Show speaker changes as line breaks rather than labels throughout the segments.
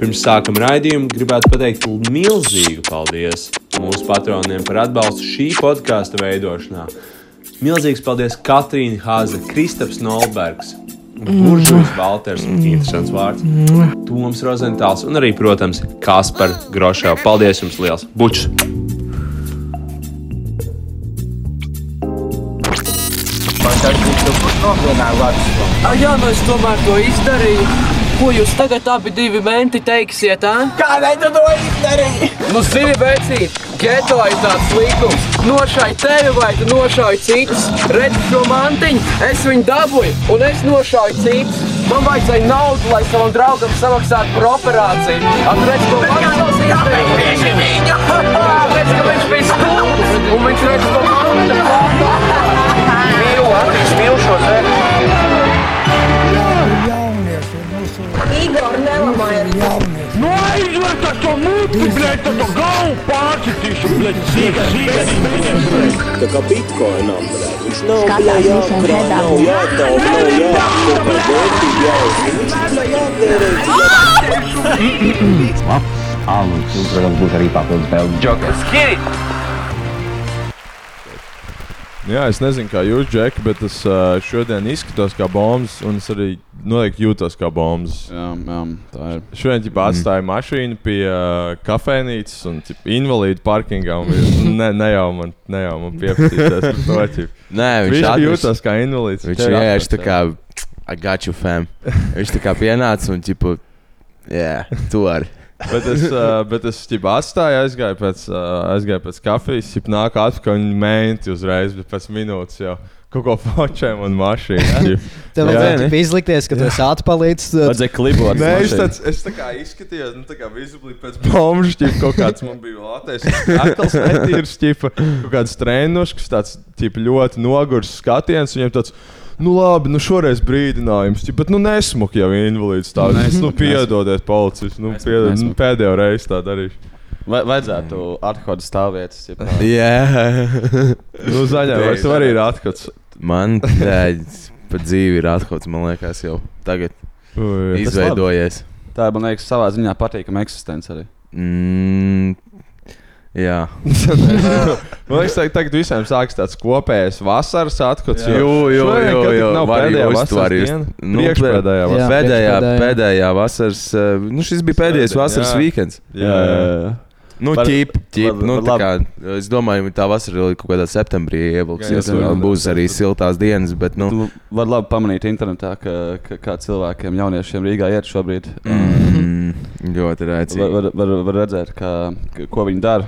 Pirms sākam raidījumu gribētu pateikt milzīgu paldies mūsu patroniem par atbalstu šī podkāstu veidošanā. Milzīgs paldies Katrīnai Hāze, Kristaps Nolbergs, Buržovs Valters, interesants vārds, Toms Rozentāls un arī, protams, Kaspar Grošā. Paldies jums liels! Bučs!
Ai, jā, nu es tomēr to izdarīju. Ko jūs tagad abi divi menti teiksiet? A?
Kādēļ tu to izdarīji?
Nu, zini, vecīt, geto ir tāds likums. Nošai tevi vai tu nošai citus. Redzi šo mantiņu, es viņu dabūju un es nošai citus. Man vajadzēja naudu, lai savam draugam samaksātu par operāciju. Atredz, ko man tas izdarīja. Tāpēc, ka viņš bija stulbs un viņš redz to mantu. Mīlu, Andris, mīlu šo zemi.
Igor Nelamājers.
Ну а то что мутки, блядь, это гау пачки, блядь, сик, сик, сик.
Tā kā bitkoinam, blēd, viņš nav
Skatās
blēd,
visiem
jākrāj,
pēdām.
nav jātaup, nav jāapkopē, vērtība jāuzņem, viņš nav blēd, jātērē.
Jā, es nezinu, kā jūs, Džek, bet es uh, šodien izskatos kā bombs, un es arī noteikti jūtos kā bombs.
Jā, jā, tā ir.
Šodien jau atstāju mm. mašīnu pie uh, kafejnīcas un ķip, invalīdu parkingā. un bija, Ne, ne jau man, ne jau man pieprasījās to ķip.
Nē, viņš
Viņš
atvis-
jūtas kā invalīds.
Viņš
Tev ir
vienkārši tā
atrast,
kā I got you, fam. Viņš tā kā pienāca un tipu. Jā, tu arī.
Bet es, uh, bet es ķip, atstāju, aizgāju pēc, uh, aizgāju pēc kafijas, jau nāku atpakaļ un mēnti uzreiz, bet pēc minūtes jau kaut ko fočēm un mašīnu.
Tev
Jā.
vajadzēja tikai izlikties, ka tu esi atpalicis.
Vajadzēja klibot.
Nē, es, tāds, es tā kā izskatījos, nu, tā kā vizuāli pēc bombas, jau kaut kāds man bija lātais. Akls netīrs, tipa, kaut kāds treniņš, tāds tipa, ļoti nogurs skatiens. Viņam tāds, nu labi, nu šoreiz brīdinājums, tipa, bet nu nesmuk jau invalīds tāds. Nesmuk, nu
Nesmuk,
piedodiet, policis, nu piedod, nu,
nesmuk.
pēdējo reizi tā darīšu.
Vajadzētu atklāt stāvvietas. ja tā.
Jā,
Nu, zaļā, vai tu arī ir atkots?
man tāds pa dzīvi ir atklāts, man liekas, jau tagad izveidojies.
Tā ir, man liekas, savā ziņā patīkama eksistence arī.
Mm, jā,
Man liekas, tā- tagad visiem sāks tāds kopējs vasaras atkots.
Jā. Jū, jū,
šodien,
jū,
kad
jū,
nav
var
pēdējā
jūs, tu
vasaras
var jūs.
diena,
Nu,
priekšpēdējā
Jā,
vasaras.
pēdējā,
priekšpēdējā.
pēdējā vasaras, eh, nu šis bija pēdējais
Pēdējā,
vasaras
jā.
weekends.
Jā, jā, jā.
Nu,
Par-
ķip, ķip,
labi,
nu, tā
labi.
kā, es domāju, ka tā vasara ir kaut kādā septembrī ievilksies.
Jā, jā,
un
jā.
Būs arī siltās dienas, bet nu,
Tu vari labi pamanīt internetā, ka, ka, kā cilvēkiem, jauniešiem Rīgā iet šobrīd.
mm, ļoti
Var,
rēcīgi.
var, var, var redzēt, ka, ka, ko viņi dara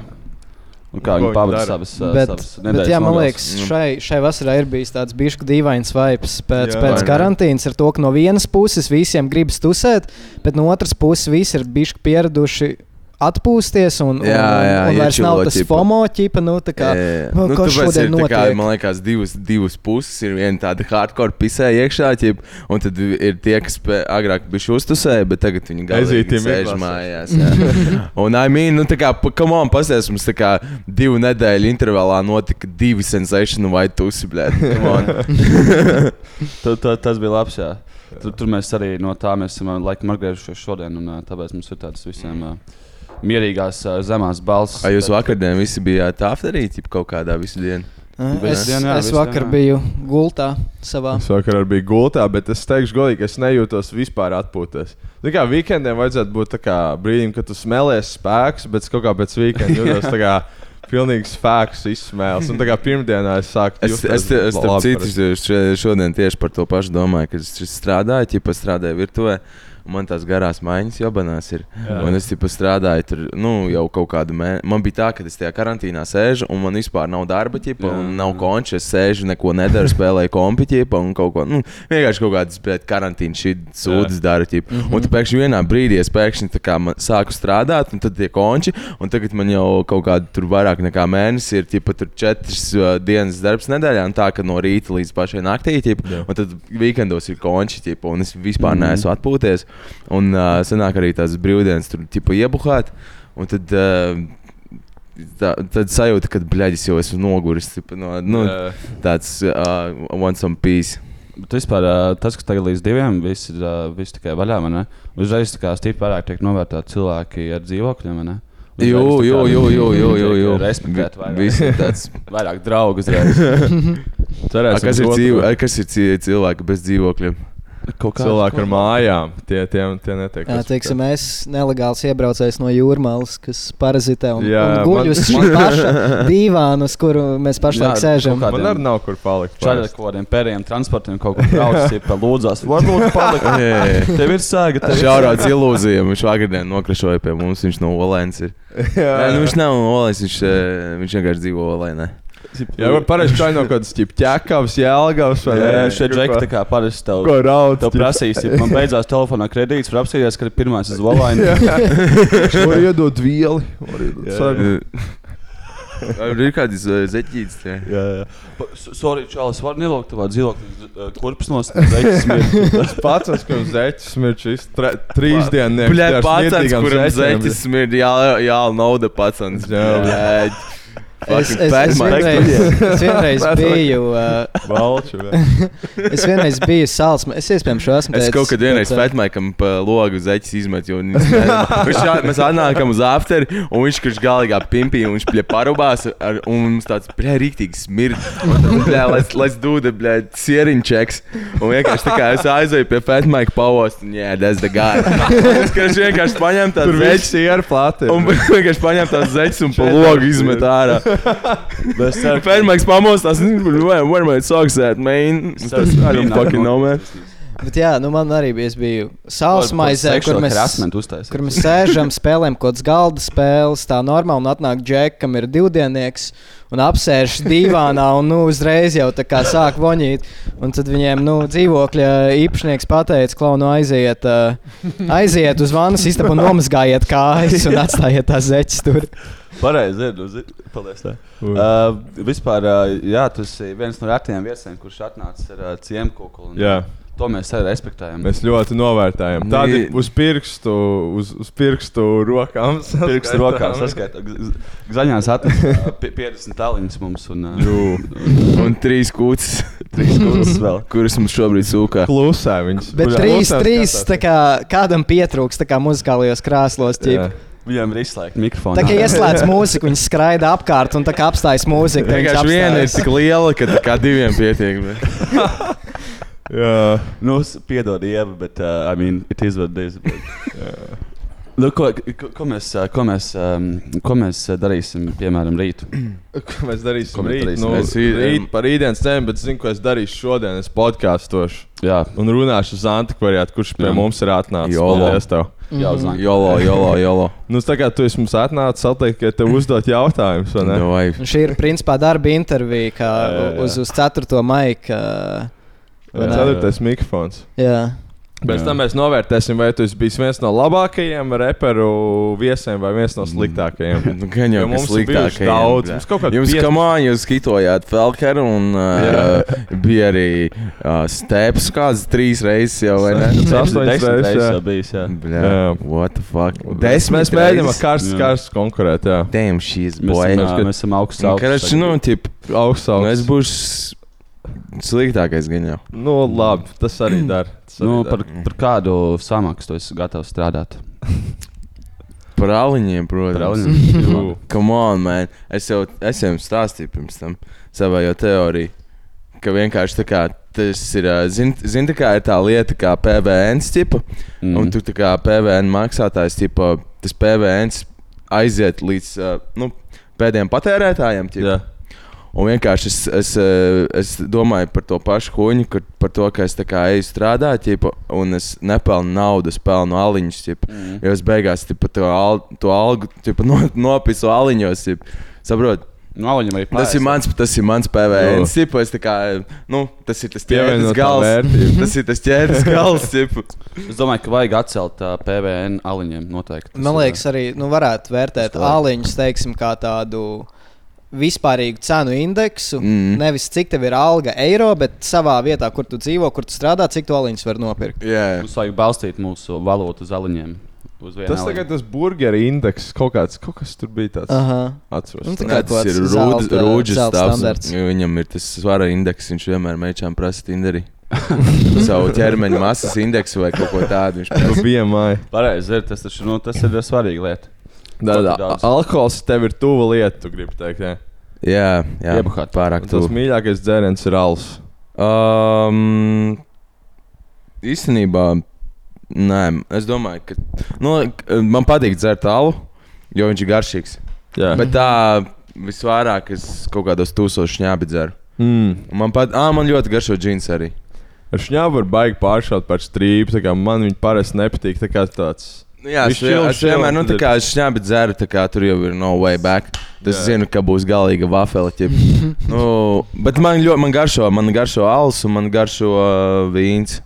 un kā
Ko
viņi
viņi
pavada
dara.
savas, eh,
Bet,
savas
bet
nedēļas.
jā, man
nogales.
liekas, šai, šai vasarā ir bijis tāds bišķi dīvains vibes pēc,
Jā.
pēc
Vai ne?
karantīnas, ar to, ka no vienas puses visiem gribas tusēt, bet no otras puses visi ir bišķi pieraduši atpūsties un, un,
Jā, jā,
un, un vairs
iečilo
nav tas
ķipa.
FOMO ķipa. Nu, tā kā,
Jā, jā.
"O,
nu,
kas
tāpēc ir
šodien
tā kā,
notiek?"
man liekas, divas, divas puses. Ir viena tāda hardcore pisē iekšā, ķip, un tad ir tie, kas pē- agrāk bija uztusēji, bet tagad viņi galīgi
Ezītiem
sēž
ieklasē.
mājās. jā. un, I mean, nu, tā kā, pa- come on, pasies, mums tā kā divu nedēļu intervālā notika divi sensation vai tusi, blēd. Come on.
Tu- tu- Tas bija labs. Jā. Tur, tur mēs arī no tā mēs esam eh, laikam atgriezušies šodien, un eh, tāpēc mums ir tādas visiem eh, mierīgās, eh, zemās balss.
Vai jūs vakardienā visi bijāt afterī, ķip, kaut kādā visu dienu?
Es,
Visu dienu, jā,
es
visu
vakar
dienu, jā.
biju gultā savā.
Es vakarā biju gultā, bet es teikšu, godīgi, es nejūtos vispār atpūties. Tā kā weekendiem vajadzētu būt tā kā brīdim, kad tu smēlies spēks, bet es kaut kā pēc weekenda jūtos tā kā pilnīgs spēks izsmēlis. Un tā kā pirmdienā es sāku
Es, es, te- es starp citu, še- šodien tieši par to pašu domāju, ka es es strādāju, tipā strādāju virtuvē. un Man tās garās maiņas jobanās ir. Un es tipā strādāju tur nu, jau kaut kādu mēnesi. Man bija tā, ka es tajā karantīnā sēžu, un man vispār nav darba, tipā,
Jā,
un nav konča. Es sēžu, neko nedaru, spēlēju kompīķipa un kaut ko. Nu, vienkārši kaut kādas pēc karantīnas šī sūdzes daru. Ķip. Un tad pēkšņi vienā brīdī es pēkšņi tā kā man- sāku strādāt, un tad tie konči, un tagad man jau kaut kāda tur vairāk nekā mēnesis ir tipa tur četras uh, dienas darbs nedēļā, un tā ka no rīta līdz pašai naktī, ķip, un tad weekendos ir konči, tipa, un es vispār
Mhm.
mm -hmm. neesmu atpūties. Un uh, sanāk arī tās brīvdienas tur tipa iebuhāt, un tad. Uh, Tā, tad sajūta, ka, bļaģis, jau esmu noguris. Tipa, no, nu,
Jā.
tāds uh, one some piece.
Bet vispār ā, tas, kas tagad līdz diviem, viss ir ā, viss tikai vaļā. vai ne? Uzreiz tā kā stīvi pārāk tiek novērtēti cilvēki ar dzīvokļiem. vai ne? Uzreiz
Jū,
Nu, tā kā
jū, jū, jū, jū, jū,
tiek,
jū.
ā, Respektēt vairāk.
Visi tāds.
Vairāk draugu uzreiz.
A,
Cerēsim,
Kas ir,
to,
dzīvo, a, kas ir cī- cilvēki bez dzīvokļiem?
Kaut kā
Cilvēki ar mājām, tie, tie, tie netiek.
Jā, teiksim, es nelegāls iebraucējs no jūrmālas, kas parazitē un,
Jā,
un guļ
man-
uz šī paša dīvāna, uz kuru mēs pašlaik
Jā,
sēžam.
kaut kā-
Man arī nav kur palikt.
Čāļi ar
parasti.
kaut kādiem pēriem, transportiem, kaut kā braucis, ja lūdzās. Varbūt palikt.
Jā, jā, jā.
Tev ir sēga, tev ir
Šādi ilūzija. Viņš vakardien nokrašoja pie mums. Viņš no Olēnas ir. Nē, nu, viņš nav no Olēnas. Viņš, eh, viņš vienkārši dzīvo Olēnā.
Jā, var parasti čai no kādas ķekavas, jēlgavas vai
Jā,
ne?
šeit džekta tā kā parasti tev.
Ko raud?
Tev prasīs, ja man beidzās telefonā kredīts, var apsēsties, ka ir pirmais uz volainu.
Var iedot vieli. var iedot sargu.
Tur ir kādas eh, zeķītes.
Jā, jā. Pa- s- Sorry, Čālis, var nelūgt tavā dzīvoklī kurpes no zeķes.
Pats esmu, kurš zeķis smirčis. Trīs dienas
Bļā, pats, kuram zeķis smird, jā, jā, nauda pats.
Jā,
Jā,
Es,
Fucking
es, es,
Batman.
vienreiz, es vienreiz biju, uh,
Valču.
es vienreiz biju salsmē. Es iespējams šo esmu.
Es
teicis,
kaut kad vienreiz
bet, ā,
Fatmaikam pa logu zeķis izmet, jo viņš nezina. Viņš šā- mēs atnākam uz afteri, un viņš kurš galīgā pimpī, un viņš pļa parubās, ar, un mums tāds, bļē, rīktīgi smird. Un tad, Bļē, let's, let's do the, bļē, sieriņčeks. Un vienkārši tā kā es aizēju pie Fatmaika pavost, un jā, yeah, that's the guy. Es kurš vienkārši paņem
Tur
tādu
viss
zeķis.
ir plati.
Un vienkārši paņem tās zeķes un pa logu izmet ārā.
Es ceru, ka
Fermaiks pamostās, nezinu, where, where my socks at, man? Es tāds, I don't fucking know, man.
Bet jā, nu man arī bija. Es biju salsmaizē, kur mēs.
Rasmentu uztaisīt.
Kur mēs sēžam, spēlējam kaut kādas galda spēles, tā normāli, un atnāk džeks, kam ir divdiennieks, un apsēžas divānā, un nu, uzreiz jau tā kā sāk voņīt. Un tad viņiem nu, dzīvokļa īpašnieks pateica, klaunu aiziet, uh, aiziet uz vannas istabu un nomazgājiet kājas un atstājiet tās zeķes tur.
Pareizi, ir. nu, zini. Paldies. tev. Uh, vispār, uh, jā, tas ir viens no retajiem viesiem, kurš atnācis ar uh, ciemkokli. un
Jā,
To mēs arī respektējam.
mēs ļoti novērtējam. Tādi
Nī.
uz pirkstu, uz, uz pirkstu rokām.
Pirkstu rokā saskaitām. Zaļās atnesa 50 taliņus mums un uh,
nu, Un trīs kūts.
trīs kuras vēl.
kuras mums šobrīd sūkā.
Klusē viņas.
Bet
Klusē
trīs,
skatās.
trīs tā kā, kādam pietrūks tā kā muzikālajos krēslos.
Jā.
ķip.
Viņam ir izslēgta mikrofona.
Tā kā ieslēdz mūziku, viņi skraida apkārt un tā kā apstājas mūzika. tad
Vienkārši
viņi
viena ir
apstājas.
tik liela, ka tā kā diviem pietiek. bet-
Jā.
Nu, s- piedod, Ieva, bet, uh, I mean, it is what it is. but- Nu, ko, ko, ko mēs, uh, ko, mēs, um, ko mēs uh, darīsim, piemēram, rīt?
Ko mēs
Ko
darīsim
mēs
rīt?
darīsim?
Nu,
Es rīt-
rīt par rītdienas tēmu, bet zinu, ko es darīšu šodien. Es podkāstošu
Jā,
un runāšu uz antikvariātu, kurš pie
Jā.
mums ir atnācis.
Jolo.
Paldies tev.
jā uznāk.
Jolo, jolo, jolo.
Nu, tā kā tu esi mums atnācis, atliek, ka tev uzdot jautājumus, vai ne?
Nu, vai-
Un šī ir principā darba intervija, kā
Jā, jā, jā.
uz, uz 4. maija. ka,
Jā.
Vai ne?
Ceturtais mikrofons.
Jā,
Pēc tam mēs novērtēsim, vai tu esi bijis viens no labākajiem reperu viesiem vai viens no sliktākajiem.
Nu, Gan jau
Jo
mums
mums ir bijuši
sliktāk.
daudz. Mums kaut kādi
Jums,
piec-
kā man, jūs skitojāt Falkeru un uh, bija arī uh, steps kāds trīs reizes jau, vai ne?
Tas astoņas
Desmit
reizes.
reizes
jā.
jau bijis. Jā.
Bļā,
Jā.
what the fuck?
Desmit mēs mēģinām ar
reizes?
karstu
Jā.
karstu konkurēt. Jā,
Damn, she's
Mēs,
boy.
esam, ā, mēs esam augsts.
Nu, Karāči, nu, tip,
augstāk.
nu, es būšu s- sliktākais gan jau.
Nu, labi, tas arī dara. Tas arī
Nu,
dara.
par,
mm.
par kādu samaksu tu esi gatavs strādāt?
Par aliņiem, protams.
Brauņiem.
Jū.
Come on, man. Es jau es jums stāstīju pirms tam savā jau teorijā, ka vienkārši tā kā tas ir. Zini, zin, tā kā ir tā lieta, kā PVN tipa, mm. un tu tā kā PVN maksātājs, tipa, tas PVN aiziet līdz ā, nu, pēdējiem patērētājiem.
Jā.
Tipa. Un vienkārši es, es, eh, es domāju par to pašu huņu, ka, par to, ka es tā kā eju strādāt, ķipa, un es nepelnu naudu, es pelnu aliņus. Ķipa,
Mhm.
mm. Jo es beigās ķipa, to, al, to algu ķipa, no, nopisu aliņos. Ķipa. Saprot,
Nu, Aliņam arī
tas ir mans, tas ir mans PVN. Ķipa, es tā kā, nu, tas ir tas ķēdes
Pievienotā
gals.
vērtība.
Tas ir tas ķēdes gals. ķipa.
Es domāju, ka vajag atcelt uh, PVN aliņiem noteikti. Tas
man
ir,
liekas, arī nu, varētu vērtēt
Tas tā.
āliņus teiksim, kā tādu vispārīgu cenu indeksu.
Mm.
Nevis cik tev ir alga eiro, bet savā vietā, kur tu dzīvo, kur tu strādā, cik to aliņus var nopirkt.
Jā.
uh, Mums vajag balstīt mūsu valotu uz aliņiem. Uz vienu
Tas
aliņu.
tagad tas burgeru indeks kaut kāds, kaut kas tur bija tāds.
Aha.
Atceros.
Nu, tā
Nē,
kā
tas
tāds
ir
zelta-
rūdz- rūdžas
zelta
stāvs. Nu,
standarts.
Viņam ir tas svara indeks, viņš vienmēr mēģina prasīt inderi. savu ķermeņa masas indeksu vai kaut ko tādu. Viņš
Tu biji māja.
Pareizi, ir, tas, taču, nu, tas ir svarīgi lieta.
Tā
Ļoti
ir
daudz.
alkohols, tev ir tuva lieta, tu gribi teikt. jā.
Jā, jā
Iebuhāt.
pārāk
Un Tas
tuvu.
mīļākais dzēriens ir alus.
Um, īstenībā, nē, es domāju, ka nu, k- man patīk dzert alu, jo viņš ir garšīgs.
Jā,
Bet tā visvairāk es kaut kādos tūsošos ņēbi dzeru.
mm.
Un Man, pat, ā, man ļoti garšo džins arī.
ar šņābu var baigi pāršaut par strīpu. tā kā Man viņa parasti nepatīk. Tā kā tāds.
Nu, jā, es,
Viņš chill,
es
chill,
vienmēr, nu, tā
tad ir-
kā es ņēmu dzēru, tā kā tur jau ir no way back. Tas
Jā.
zinu, ka būs galīga vafele. ķip. nu, bet man ļoti, man garšo, man garšo alus un man garšo uh, vīns.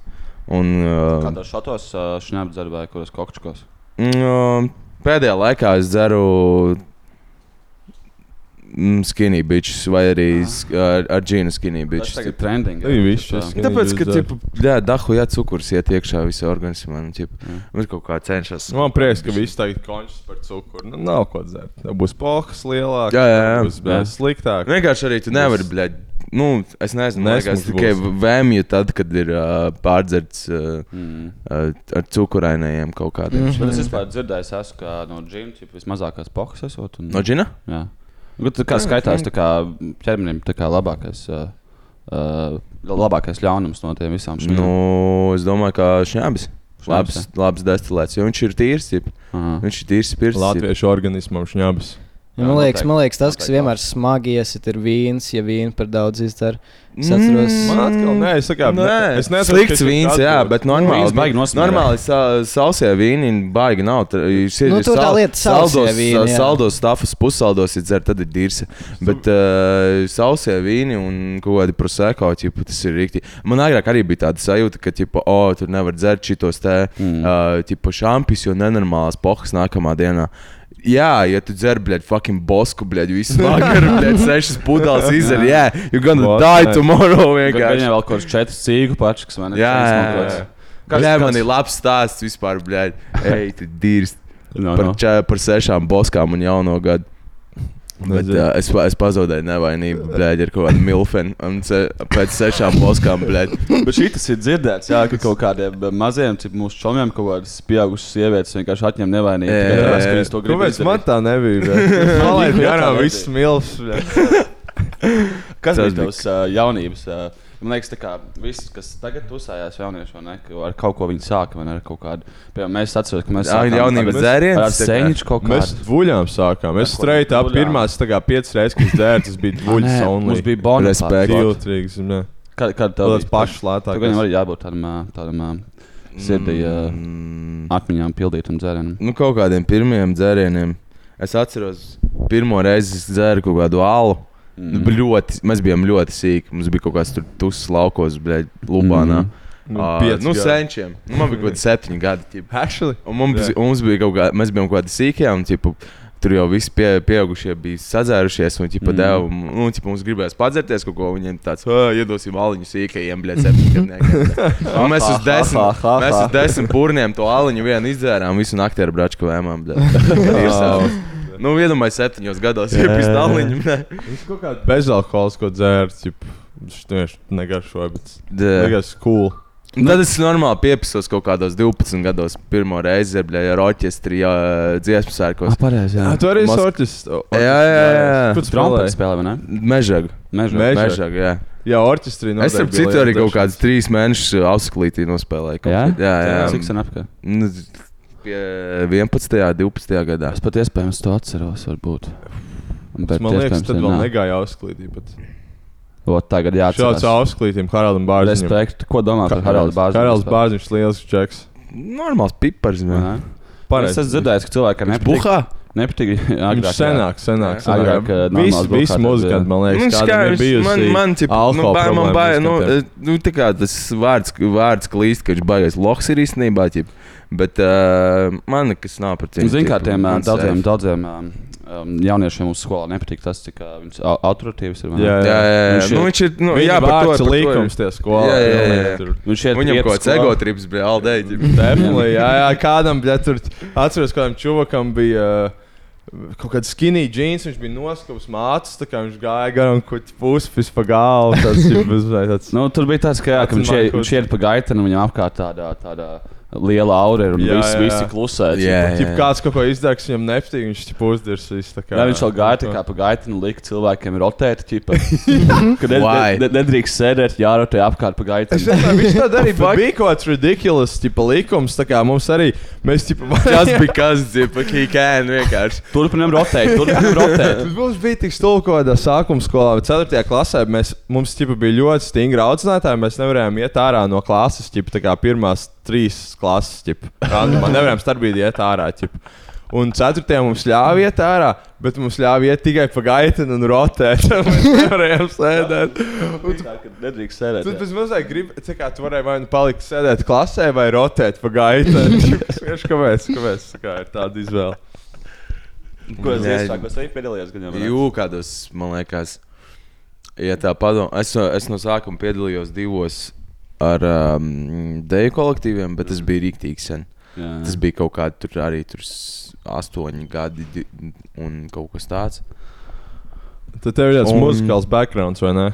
Un, uh,
Kādos šatos šņēmu dzērvēju, kuros kokčkos?
Nu, Pēdējā laikā es dzeru mm, skinny bitches vai arī sk- ar, ar džina skinny
Ah. Tas
bitches.
tagad
tipu.
trending.
Nu, viņš tas ir.
Tāpēc, ka, tipu, jā, dahu, jā, cukurs iet iekšā visā organismā. un, tipu, Viņš kaut kā cenšas.
Man prieks, ka viss tagad končas par cukuru. Nu, nav ko dzert. Tev būs pokas lielākas,
Jā, jā, jā.
būs bē,
Jā.
sliktāk.
Vienkārši arī tu nevari, bļaļ, nu, es nezinu, man liekas,
Nesmugs
tikai
būs.
vēmju tad, kad ir uh, pārdzerts uh,
Mm.
uh, ar cukurainajiem kaut
Bet
kādiem.
es
šitiem.
Nu, vispār dzirdēju, esmu, ka no džina ir vismazākās pokas. Esot, un,
No džina?
jā. Nu, tā kā
mm,
skaitās tā kā ķermenim tā kā labākais, uh, uh, labākais ļaunums no tiem visām šīm
Nu, es domāju, ka šņabis. Labs,
Šņabis,
labs destilēts, jo viņš ir tīrs. Tipu.
Aha.
Viņš ir tīrs pirts.
Latviešu organismam šņabas.
Ja man, liekas,
noteikti.
man liekas, tas, kas
Noteikti.
vienmēr smagi iesit, ir vīns, ja vīnu par daudz izdara. Es atceros,
Man atkal, nē, es sakām, ne- es nezinu,
Mm. slikts
kas ir
vīns,
tāds
jā,
būs.
bet normāli.
Vīns baigi nosmērē.
normāli sa, sausie vīni baigi nav. tra- ir- ir
Nu, tur tā
sal-
lieta sausie
saldos,
vīni, jā.
Saldos stafus, pussaldos ir dzert, tad ir dirse. Bet uh, sausie vīni un kaut kādi proseko, tipu, tas ir rīkti. Man agrāk arī bija tāda sajūta, ka, tipo, o, tur nevar dzert šitos te, mm. uh, tipo, šampis, jo nenormālas pohas nākamā dienā. Jā, ja tu dzer, bļaļ, fucking bosku, bļaļ, visu vakaru, bļaļ, sešas pudeles izdzer, jā, yeah, you're gonna
Bosku,
die
nē.
tomorrow
Gan
vienkārši.
jau vēl kaut kāds četrs cīgu pačkas, vai ne?
Jā,
Šis
jā,
kaut
jā.
kāds.
Kas, Bļē, kas? man ir labs stāsts vispār, blēdi. Ej, tu dirst
No,
par,
no.
ča- par sešām boskām un jauno gadu. Bet,
Nezinu.
uh, es, pa- es pazaudēju nevainību, blēdi, ar kaut kādu milfenu. Un se, pēc sešām boskām, blēdi.
Bet šī tas ir dzirdēts, jā, ka kaut kādiem eh, maziem cip, mūsu čomiem kaut kādas pieaugušas sievietes vienkārši atņem nevainību.
Jā,
Tikai
jā,
tāpēc, ka
jā.
viņas to grib
Kāpēc
izdarīt.
man tā nebija? bļa? Man liekas,
Liku
garām
iekšā
viss smilts. bļa.
Kas
Tas
tas bija
bija
tavs uh, jaunības? Uh, man liekas, ka viss, kas tagad uzsājās jauniešu, vai ne, ka ar kaut ko viņi sāka, vai ne, ar kaut kādu. Piemēram, mēs atceramies, ka mēs
Jā, jaunības dzēriens,
Ar
tā kā.
sēņķu kaut
Mēs
kādu.
buļām sākām. Es
Neko,
straight up
buļām.
pirmās tā kā piecas reizes, kad dzēru, tas bija buļs un
Mums bija bonus.
Respekt.
Jūtīgs, ne?
Kad, kad tev
Tāds pašs
Tagad viņam
lētākais.
arī jābūt tādam, ā, tādam ā, sirdī uh, atmiņām pildītam dzērienam.
Mm, Nu, kaut kādiem pirmiem dzērieniem. Es atceros, pirmo reizi es dzēru kaut kādu alu. Mm. Ļoti, mēs bijām ļoti sīki. Mums bija kaut kāds tur tuss laukos, blēdi, Lubānā.
Mm.
Mm.
Nu,
Uh,
pieci
nu,
gadi.
senčiem. Nu, man bija kaut kādi septiņi gadi. Ķip.
Actually,
Un mums,
Jā.
mums bija kaut kāda, mēs bijām kaut kādi sīkie, un tipu, tur jau visi pie, pieaugušie bija sadzērušies, un
Mm.
tipu, mm. deva, nu, tipu, mums gribējās padzerties kaut ko, un viņiem tāds, "Ā, iedosim aliņu sīkajiem, bļa, septiņgadniekiem. Un Mēs uz desmit, mēs uz desmit purniem to aliņu vienu izdzērām, visu naktī ar bračku vēmām. bļa. Ir savs. Nu, iedomājieties, septiņos gados jau bija stāliņš.
viņš kaut kādu bezalkoholisko dzēru, viņš vienkārši negaršoja, bet vienkārši cool.
Un
Nu,
Tad es normāli piepisos kaut kādos 12 gados, pirmo reizi ar, bļa, ar orķestri, jā, dziesmu sērkos.
Ah, pareizi, jā.
Tu arī
Mas-
esi orķestris.
Jā, jā, jā.
Kur
Trumpets
spēlēji?
spēlē, vai ne?
Mežagu.
Mežā.
Meža.
Mežagu, jā.
Jā, orķestrī.
Es tam citu arī kaut kādus trīs mēnešus auseklītī nospēlēju. kaut
Jā?
kad. jā, jā.
Cik sen apkārt?
Nu, Pie 11. un 12. gadā.
Es pat iespējams to atceros, varbūt. Bet
Man liekas, tad vēl
nē.
negāja ausklītī. bet
O, Tagad
Šāds
jāatcerās.
ausklītiem Haraldam Bārziņam.
Respektu, ko domā par Haraldu Bārziņu?
Haralds Bārziņš liels čeks.
Normāls pipars.
Jā.
man.
Es esmu dzirdējis, ka cilvēkam
Viņš
nepatīk.
buhā.
Nepatīk agrāk.
Viņš senāk, senāk.
Jā.
senāk.
Agrāk, eh,
Visi,
normāls
visi
broadcaster, jā.
muzikanti, man liekas,
Viņš
kādam ir
vienkārši-
bijusi
man, man tip, nu,
alkohola
bai, man
problēma
bail, nu,
muzikantiem.
eh, nu, tā kā tas vārds, vārds klīst, ka viņš baigās loks ir īstenībā, tip, bet uh, man nekas nav par tiem.
Ziniet, kā
tip,
tiem eh,
man
daudziem,
safe.
daudziem em, em, jauniešiem uz skolā nepatīk tas, cik eh, viņš au- autoritīvs ir. vai ne?
Jā,
Jā, jā, jā. Nu, viņš ir, nu, jā,
Viņa
par to
vārds
par to ir-
līkums tie skolā.
Jā, jā, jā,
pilnīgi
jā.
tur.
Viņš ir
Viņam kaut kāds egotrips bija, aldei. tip.
Definitely, jā, jā, kādam, ja tur atceros, kādam čuvakam bija. uh, Kaut kāds skinny jeans, viņš bija noskūpis mācis, tā kā viņš gāja garām, kur puses pa galu. Tas ir bezveids.
Nu, tur bija tāds, ka, jā, ka viņš ie- viņš iet pa gaitu, un viņam apkārt tādā, tādā liela aura ir un
Jā,
visi,
jā.
visi klusē. tipa.
Jā, jā.
Ja kāds kaut ko izdarīs, viņam nepatīk, viņš ir pusdirs.
Jā, viņš vēl gāja tā kā pa gaitu, un lika cilvēkiem rotēt, ķipa. ka ne,
Why?
ne, ne, nedrīkst sēdēt, jārotē apkārt pa gaitu.
Es domāju, viņš tā darīja. bet Bija kaut kāds ridiculous tipa, likums. Tā kā mums arī mēs tipa,
Tas bija kas, dzipa, kīkēn vienkārši.
Turpinam rotēt, turpinam rotēt.
Bet Mums bija tik stulbi, ka tādā sākuma skolā, vai 4. klasē, mēs, mums tipa, bija ļoti stingra audzinātāja. Mēs nevarējām iet ārā no klases, tipa, tā kā pirmās trīs klases. Tipa, randumā. nevarējām starpbrīdī iet ārā. Tipa. Un 4. mums ļāva iet ārā, bet mums ļāva iet tikai pa gaitu un rotēt. mēs nevarējām sēdēt. Un tu-
Tā, ka Nedrīkst sēdēt.
Tu
jā.
bez mazliet gribi, tā kā tu varēji vai nu palikt sēdēt klasē, vai rotēt pa gaitu. Tieši kāpēc, kāpēc tā kā ir tāda izvēle?
Ko es
Nē.
iesāku? Es arī piedalījos gan jau. vai ne?
Jū, kādos, man liekas, ja tā padomā. Es, no- es no sākuma piedalījos divos ar um, deju kolektīviem, bet tas bija rīktīgi sen.
Jā, jā.
Tas bija kaut kādi tur arī tur s- astoņi gadi di- un kaut kas tāds.
Tad tev ir tāds
Un-
muzikāls backgrounds, vai ne?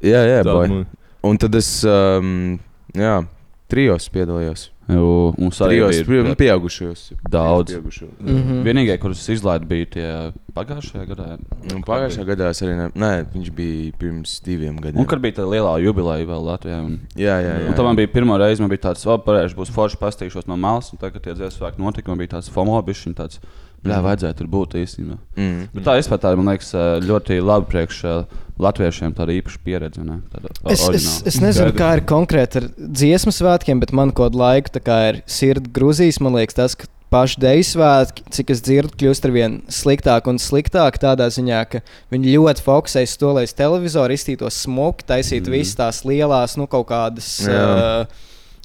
Jā, jā,
Tāda
boy.
mu-
Un tad es, um, jā, trijos piedalījos.
Jū, Mums arī
Trijos
bija
pri- pieaugušajos.
Daudz.
Pieaugušo.
Mhm.
Vienīgais, kurus izlaidu, bija tie pagājušajā gadā.
Nu, Pagājušā gadā es arī, ne... nē, viņš bija pirms diviem gadiem.
Un kad bija tā lielā jubileja vēl Latvijā. Un...
Jā, jā, jā.
Un tā man bija pirmā reize, man bija tāds, labi, pareizi, būs forši pastīšos no malas, un tagad tie dziesmu notikumi bija tāds fomobišs, un tāds,
Mhm.
bļā, vajadzēja tur būt īstenībā.
Mm.
Bet tā vispār tā, ir, man liekas, ā, ļoti labi priekš ā, latviešiem tāda īpaša pieredze, ne? Tāda o-
Es, es,
oriģināla.
es nezinu, kā ir konkrēti ar dziesmu svētkiem, bet man kaut kādu laiku tā kā ir sirds grūzīs. Man liekas, tas, ka paši deju svētki, cik es dzirdu, kļūst ar vien sliktāk un sliktāk. Tādā ziņā, ka viņi ļoti fokusējas to, lai televizoru iztītos smuki, taisītu mm. visas tās lielās, nu kaut kādas.
Mhm. Jā.
Uh,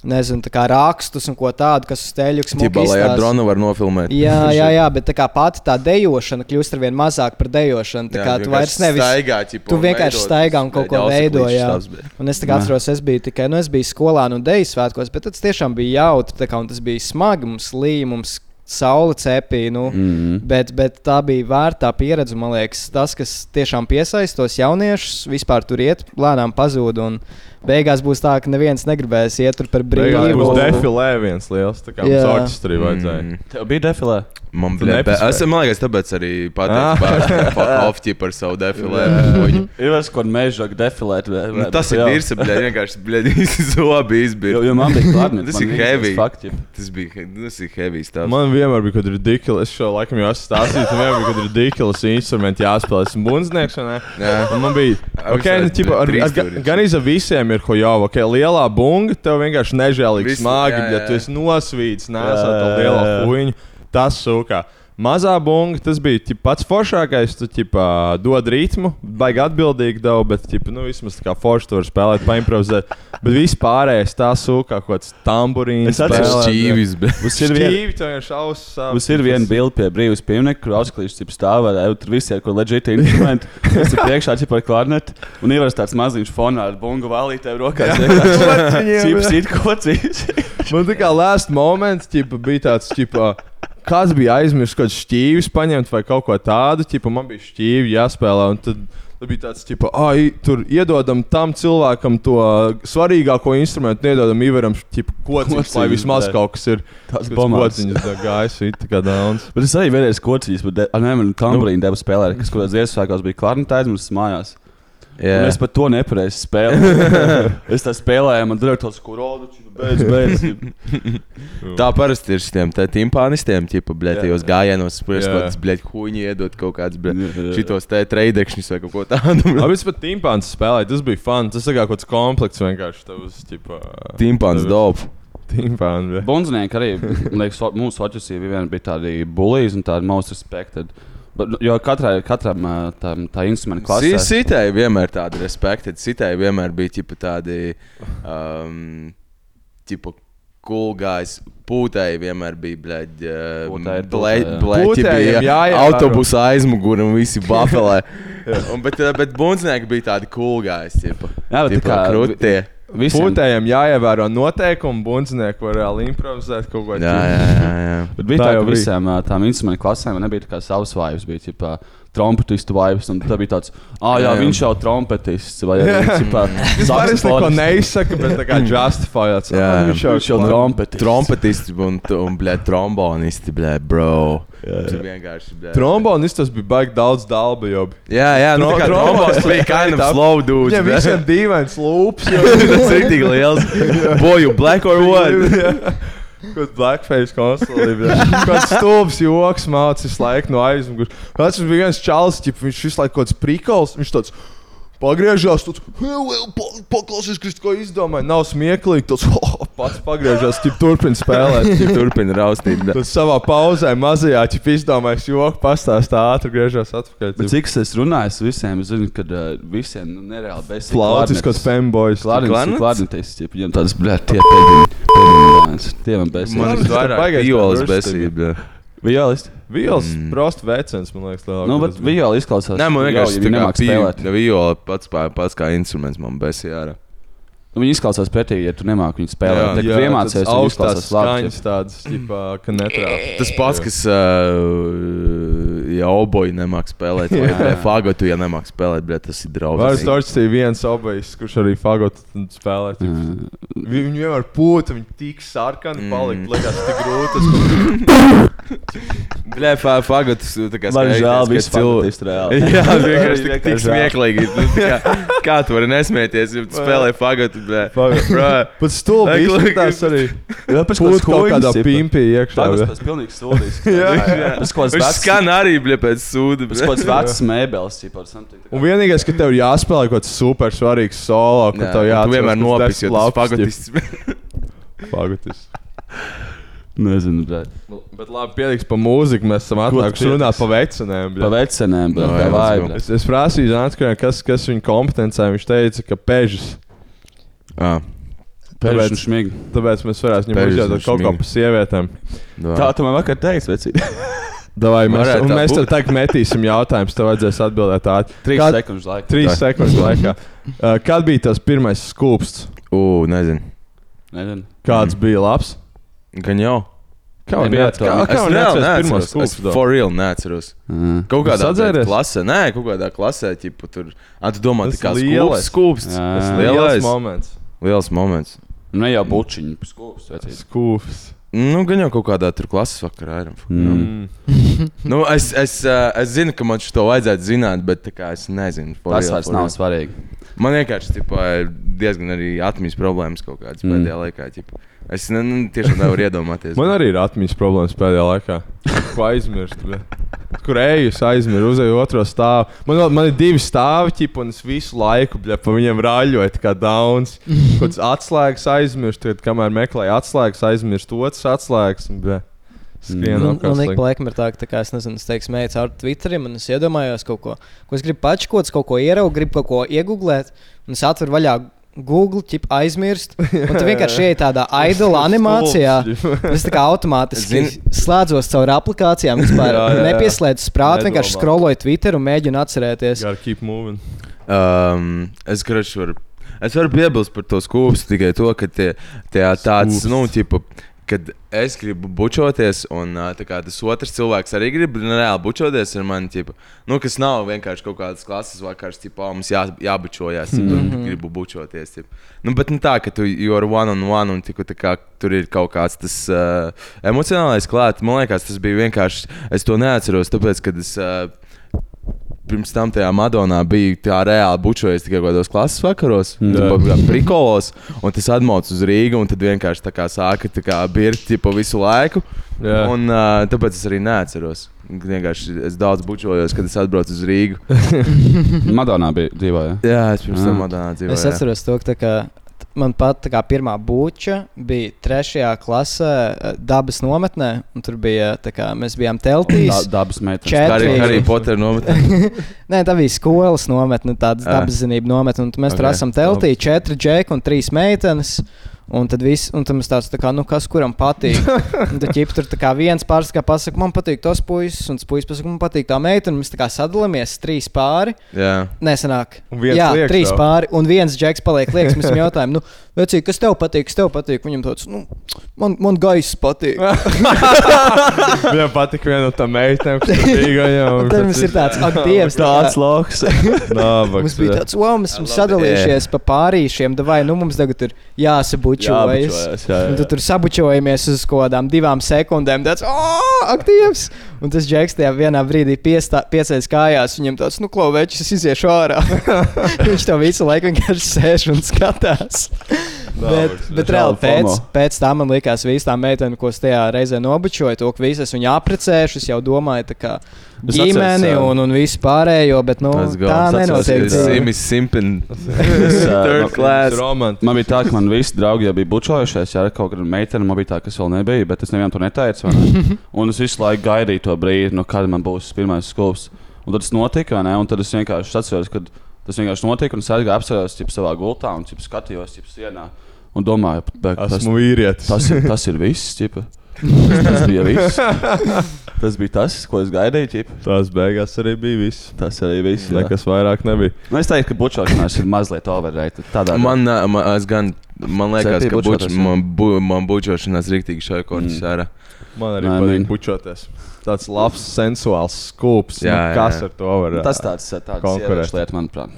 Nezinu, tā kā rakstus un ko tādu, kas uz teļa
Tipā, lai ar dronu var nofilmēt.
Jā, jā, jā, bet tā kā pati tā dejošana kļūst ar vien mazāk par dejošanu. Tā kā tu vairs nevis
Staigā, ķipa,
Tu
un
vienkārši
veido
staigā
tas
un kaut ko
neļaus
veido,
glīšus
jā.
tavs, bet-
Un es tā kā atceros, es biju tikai nu, es biju skolā no nu, Deju svētkos, bet tas tiešām bija jautri. tā Kā, un tas bija smagi, mums līja, mums saule cepīja. Nu, mm.
Mhm.
bet, bet tā bija vērtā pieredze. Man liekas, tas, kas tiešām piesaistos jauniešus, vispār tur iet, lēnām pazūd. Un beigās būs tā, ka neviens negribēs iet tur par
Beigās
brīvu.
būs defilē viens liels, tā kā
Jā.
mums orķestrī vajadzēja.
Mm.
Tev bija defilē.
Man
Tu
bija
nepaspēji.
tas, man liekas, tāpēc arī
Ah.
pateicu, ka Falkofti par savu defilē.
Ir vairs, kur mežāk defilēt. vai- vai-
Nu, tas ir
jā.
īrs, bļa, vienkārši, bļa, visi zobi
Jo, jo
izbīra.
man bija klātnē,
Tas ir heavy.
Fakti.
Tas bija, he- tas ir heavy stāvs.
Man vienmēr bija kaut kāda ridiculous, es šo laikam jau esmu stāstījis, man vienmēr bija kaut kāda ridiculous instrumenta jāspēlē. Esmu bundznieks, vai ne?
Jā.
Un man bija,
Ar
ok, nu,
visādi
tipa, ar,
trīs
ar, ga-
stūrīšus.
gan iz visiem ir hojava, ok, lielā bunga, tev vienkārši nežēlīgi
Visu,
smagi,
jā,
ja
jā.
tu esi nosvīts, nesā
Jā,
to
jā,
lielo
jā.
huņu, tas sūkā. Mazā bunga, tas bija tipa, pats foršākais. Tu tipa, dod ritmu, baigi atbildīgi daudz, bet tipa, nu, vismaz tā kā forši tur spēlēt, paimprovizēt. Bet viss pārējais tā sūkā, kaut kāds tamburīns.
Es atceros
spēlē,
šķīvis, bet.
Mums ir viena.
Šķīvi, tev vienkārši ausis. sāp.
Mums ir viena bilde pie brīvības pieminiekta, kur ausklīšs jau stāv ar tur visiem, kur leģitīvi instrumenti. Es tur priekšā jau par klarnetu un ievērs tāds maziņš fonā ar bungu valītēm rokās. Cips ir kocīs.
Man tā kā last moments ķipa, bija tāds, ka kāds bija aizmirsis kaut kādas šķīvis paņemt vai kaut ko tādu. Ķipa, man bija šķīvi jāspēlē. un Tad, tad bija tāds, ka tur iedodam tam cilvēkam to svarīgāko instrumentu, nedodam Ivaram kociņus, lai
Kociņus,
vismaz
jā.
kaut kas ir.
Tas
kociņus gaisa, it kā dāns.
Bet es arī vienreiz kocīs, bet de- ar ne, man tamburīnu devu spēlēt, kas kurās dziesmas sākās bija klarnetā aizmirsts mājās. Un es
Jā.
pat to nepareizi spēlēju. es tā spēlēju, man direktors kurodu, beidz, beidz.
Tā parasti ir šiem te timpānistiem, tipa, bļa, tajos gājienos, kurš
Jā.
kaut kāds, bļa, huņi iedot kaut kāds, bļa,
Jā, jā.
šitos te treidekšņus vai kaut ko tādu.
Abas pat timpāns spēlēja, tas bija fun. Tas ir kā kaut kāds komplekss vienkārši. Tavs, ķipa,
Timpāns dope.
Timpāns.
Bunznieki arī, man liekas, o- mūsu oķisī vienmēr bija tādi bullies un tādi most respected. Bet, nu, Jo katrai, katram ā, tam, tā instrumenta
Si-
klasē.
Sitai vienmēr tāda respekta, sitai vienmēr bija ķipa, tādi um, tipa kulgājs. Pūtai vienmēr bija blēģi,
Pūtai ir pūtai, jā.
blēģi
Pūtējiem
bija
jāievēro.
autobusa aizmugurē un visi bafelē. Un, bet, eh, bet bundznieki bija tādi kulgājs, tipa.
Jā, bet tā
tipa
kā-
krutie.
Visiem.
Pūtējiem jāievēro noteikumi, bundznieki var reāli improvizēt kaut ko
Jā, jā, jā. jā.
Bet bija
Tā
tā,
jau
ka
bija.
visām ā, tām instrumentu klasēm nebija tā kā savs vibes. Bija tipā trompetistu vibes, un tā bija tāds, ah, jā,
Jā, jā.
viņš jau trompetists. Vai arī tipā
Es vairs neko
saksofonists.
neizsaku, bet tā kā justifiēts.
Jā, jā.
viņš jau
Viņš jau trompetists.
Trompetisti un, un blē, trombonisti, blē, bro. Tas vienkārši, blē.
Trombonis tas bija baigi daudz dalba jau.
jā, jā,
Trom-
nu, tā kā trombons
trombonisti
bija kind of
tā-
slow dude.
Viņam
blē.
visiem dīvains lūps. jau.
Tas ir tik liels. Boy, you black or what?
Jā. Kaut blackface konsolīdē. Kāds stulbs joks mācīs laiku no aizmugures. Tas bija viens čalis, ķip, viņš visu laiku kaut kāds prikals. Viņš tāds pagriežās, tāds "Hei, vēl pa- paklausies, kas ko izdomāja. Nav smieklīgi, tas pats pagriežās, ķip, turpina spēlēt.
Ja Turpina raustīt. blē.
Tad savā pauzē mazajā ķip izdomājis joku, pastāstā ātri griežās atpakaļ.
Bet
ķip.
cik es runāju, es visiem zinu, ka uh, visiem nu, nereāli bez
Flautis, kāds fanboys.
Klarnets,
Klarnets?
klarnets, ja viņam tāds, blē, tie pēdējie, pēdējie lēns. Tie man bez.
Man ir
tas
vairāk
baigais
violas
diversity.
besība.
Violists.
Vīls,
Mm.
prost vecens, man liekas, lielākais.
Nu, bet violi izklausās.
Nē, man vienkārši
jau, ja
tā kā
nemāk spēlēt.
pīlēt. Viola pats, pā- pats kā instruments man besīja.
Nu, Viņi izklausās pretīgi, ja tu nemāki viņu spēlēt.
Jā,
Tad, kad iemācies, viņi
augstās
izklausās labi.
skaņas tādas, ķipā, ka netrāp.
Tas pats, kas uh, ja oboji nemāk spēlēt, vai
Jā.
blē, fagotu, ja nemāk spēlēt, blē, tas ir
Vairs
draugs.
Torčs ir viens obejs, kurš arī fagotu spēlē.
Jā.
Mm. Viņu vienmēr pūta, viņa tik sarkana
Mm.
palika, likās tik grūti.
Blē, fa- fagotus, tā kā
Man
skaidrs,
žēl,
ka
viss
cilvē-
cilvēks reāli.
Jā, vienkārši tik, tik
žēl.
smieklīgi. Nu, tā Kā, kā tu vari nesmieties, ja tu spēlē fagotu? blē?
Fagotu.
Bro.
Pats stulbi
Lai, lai-
izskatās arī.
Kāpēc
Pūta kaut kādā pimpī iekšā.
Tas
vēl.
tas pilnīgs sūdzīgs.
Jā,
Tas kaut kāds
Viņš
vecs,
skan arī blē, pēc sūda.
tas kaut kāds vecs mēbeles, ja par something. tā
Un
kā.
vienīgais, ka tev ir jāspēlē kaut kāds super svarīgs solo, ka tev
jā, tu
jāatcerās,
vienmēr
kas desmit
nopis, jo tas
lapas,
fagotists.
ķip, fagotis.
Nezinu, bet.
Bet labi, pietiks par mūziku, mēs esam
tu
atnākuši
pietiks?
runāt pa vecinēm.
Pa vecenēm, bet
No,
tā
jā,
vajag.
let's
Es, es prasīju, Zantskajam, kas, kas viņa kompetencē, viņš teica, ka pežas.
Ah,
Tāpēc-
Pēdējais šmīgi.
Tāpēc mēs varētu viņam
Pežas
uzdot
un
kaut ko
šmīgi.
par sievietēm.
nu
Tā tu man vakar teici, vecīt.
Davai, mēs
Varētu
un
tā
mēs tev
būt.
tagad metīsim jautājumus, tev vajadzēs atbildēt ātri.
Trīs
Kad-
sekundes laika.
Trīs
Tā.
sekundes laikā. Uh, Kad bija tas pirmais skūpsts?
Ugh, nezinu.
Nezinu.
Kāds bija labs?
Gan jau.
Mm. Kā
man bija tā?
kā-
Es
kā man
reāli
neatceras pirmo
neatceros. Es
skūpstu?
for real neatceros.
Mm.
Kaut kādā
Sadzēries?
blē, klasē, nē, kaut kādā klasē, tipu tur. Ah, tu domā,
Tas
tā kā
lielais.
skūps, skūps.
Jā. Nu,
Tas
Lielais
lielais.
moments.
Liels moments.
Ne jau bučiņi, skūps, vecīt.
Skūps.
Nu, gan jau kaut kādā tur klases vakarā. Iron Fuck.
Mm.
Mm.
Nu, es, es, ā, es zinu, ka man šo vajadzētu zināt, bet tā kā es nezinu. for
Tas
real,
vairs
for
nav
real.
svarīgi.
Man vienkārši tipā, ir diezgan arī atmiņas problēmas kaut kādas
Mm.
mm. pēdējā laikā. Tipa. Es ne, ne, tiešām nevaru iedomāties.
Man arī ir atmiņas problēmas pēdējā laikā. Ko aizmirst? bet- Kur eju, es aizmirsu, uzēju otro stāvu. Man, vēl- man ir divi stāvi, ķip, un es visu laiku bļa, pa viņiem rāļoju, tā kā dauns. Kaut kāds atslēgas aizmirst, tad kamēr meklēju atslēgas, aizmirst otrs atslēgas. un, bļa, Skrien
Un, Mm. un ik
apkārt.
pa laikam nu, ir tā, ka, tā kā, es nezinu, es teiktu, meklēju ar Twitterī, un es iedomājos kaut ko, ko es gribu pačkots, kaut ko ieraudzīt, gribu kaut ko iegūglēt, un es atveru vaļā Google, ķip aizmirst, un tu vienkārši ej tādā idola animācijā. Es tā kā automātiski
Zini-
slēdzos caur aplikācijām, vispār
Jā, jā, jā.
nepieslēdzu prātu, vienkārši
Nedomā.
skroloju Twitter un mēģinu atcerēties.
Gotta keep moving.
Um, es gribēju, varu, es varu piebilst par to skūpstu tikai to, ka tie, tie tāds,
Skūpsts.
nu, tipa, kad es gribu bučoties, un ā, tā kā tas otrs cilvēks arī grib nu, reāli bučoties ar mani, tipa, nu, kas nav vienkārši kaut kādas klases vakars, tipā, mums jā, jābučojas, ja mm. gribu bučoties. Tipa. Nu, bet nu, tā, ka tu jūri one on one, un tiku, tā kā, tur ir kaut kāds tas uh, emocionālais klāts, man liekas, tas bija vienkārši, es to neatceros, tāpēc, kad es. Uh, pirms tam tajā Madonā bija tā reāli bučojies tikai kaut kādos klases vakaros, tipā kā prikolos, un tas atmauc uz Rīgu, un tad vienkārši tā kā sāka tā kā birkt tipa visu laiku.
Jā.
Un uh, tāpēc es arī neatceros. Vienkārši es daudz bučojos, kad es atbraucu uz Rīgu.
Madonā bija dzīvoja.
Jā, es pirms tam
Ah.
Madonā dzīvoju.
Es atceros to, ka tā kā t- man pat tā kā pirmā buča bija trešajā klasē, eh, dabas nometnē, un tur bija tā kā mēs bijām teltīs.
Dabas
Kā
meitene.
Četri.
arī
Latviju.
Harry Potter nometnē.
Nē, tā bija skolas nometne, tāda
Ah.
Ā.
dabas zinību nometne. un Mēs okay. tur
Ok,
esam teltī, četri džeki un trīs meitenes. Un tad viss, un tad mums tāds, tā kā, nu, kas kuram patīk. Un tad ķip, tur tā kā viens pāris kā pasakā, man patīk tas puisis, un tas puisis pasakā, man patīk tā meitene. un Mēs tā kā sadalāmies trīs pāri.
Jā.
Nesenāk.
Un viens
Jā,
liek
trīs
tev.
pāri, un viens džeks paliek liekas. Mēs viņam jautājām, nu, vecī, kas tev patīk, kas tev patīk. Viņam tāds, nu, man, man gaisa patīk.
Viņam patīk viena no tām meitām, kas bija
Un tad mums ir tāds, ak, Dievs,
Tāds lauks.
Mums bija tāds, wow, mēs esam sadalījušies pa pārīšiem, vai nu mums tagad ir jāsabučojas.
Jābučojas, jā, jā.
Un tad tur sabučojamies uz kaut kādām divām sekundēm. Tāds, oh, ak, Dievs! Un tas džeks tajā vienā brīdī piesēs kājās, viņam tāds, nu, klauvēķis, es iziešu ārā. Viņš to visu laiku vienkārši sēž un skatās. Bet, bet reāli
Žēl
pēc,
FOMO.
pēc tam man likās, ka visas tā meitene, ko es tajā reizē nobučoju, to, ka visas viņu apprecēšu, es jau domāju, tā kā
Es
ģimeni
atceros, jā.
un, un visu pārējo, bet nu,
Let's go.
tā
Tas
nenotiek.
ir
dzīvē.
Simis Simpin.
Third
Tas ir romantiski.
Man bija tā, ka man visi draugi jau bija bučojušies, ja kaut kāda meitene man bija tā, kas vēl nebija, bet es nevienam to neteicu. vai Ne? Un es visu laiku gaidīju to brīdi, no kad man būs pirmais skūps. Un tad tas notika, vai ne? un tad es vienkārši atceros, ka tas vienkārši notika, un es aizgāju apsēsties ķip, savā gultā un ķip, skatījos ķip, sienā. Un domāju, bet tas,
Esmu vīrietis.
tas, ir, tas ir viss. Ķip. Tas bija viss. Tas bija tas, ko es gaidīju. Ķip.
Tas beigās arī bija viss.
Tas arī viss. jā.
Nekas vairāk nebija.
Nu, es teiktu, ka bučošanās ir mazliet overrated. Tādā
Man, nā- man, es gan, man liekas,
Cepī
ka buč,
bučoties, jā.
man, bu, man bučošanās rīktīgi šai korķis ārā.
Man arī
Nē,
patīk
mīļi.
bučoties. Tāds labs, sensuāls skūps.
Jā,
Jā,
jā,
kas
jā.
ar to var?
Nu, Tas tāds -
Konkurēt.
tāds - lieta, manuprāt.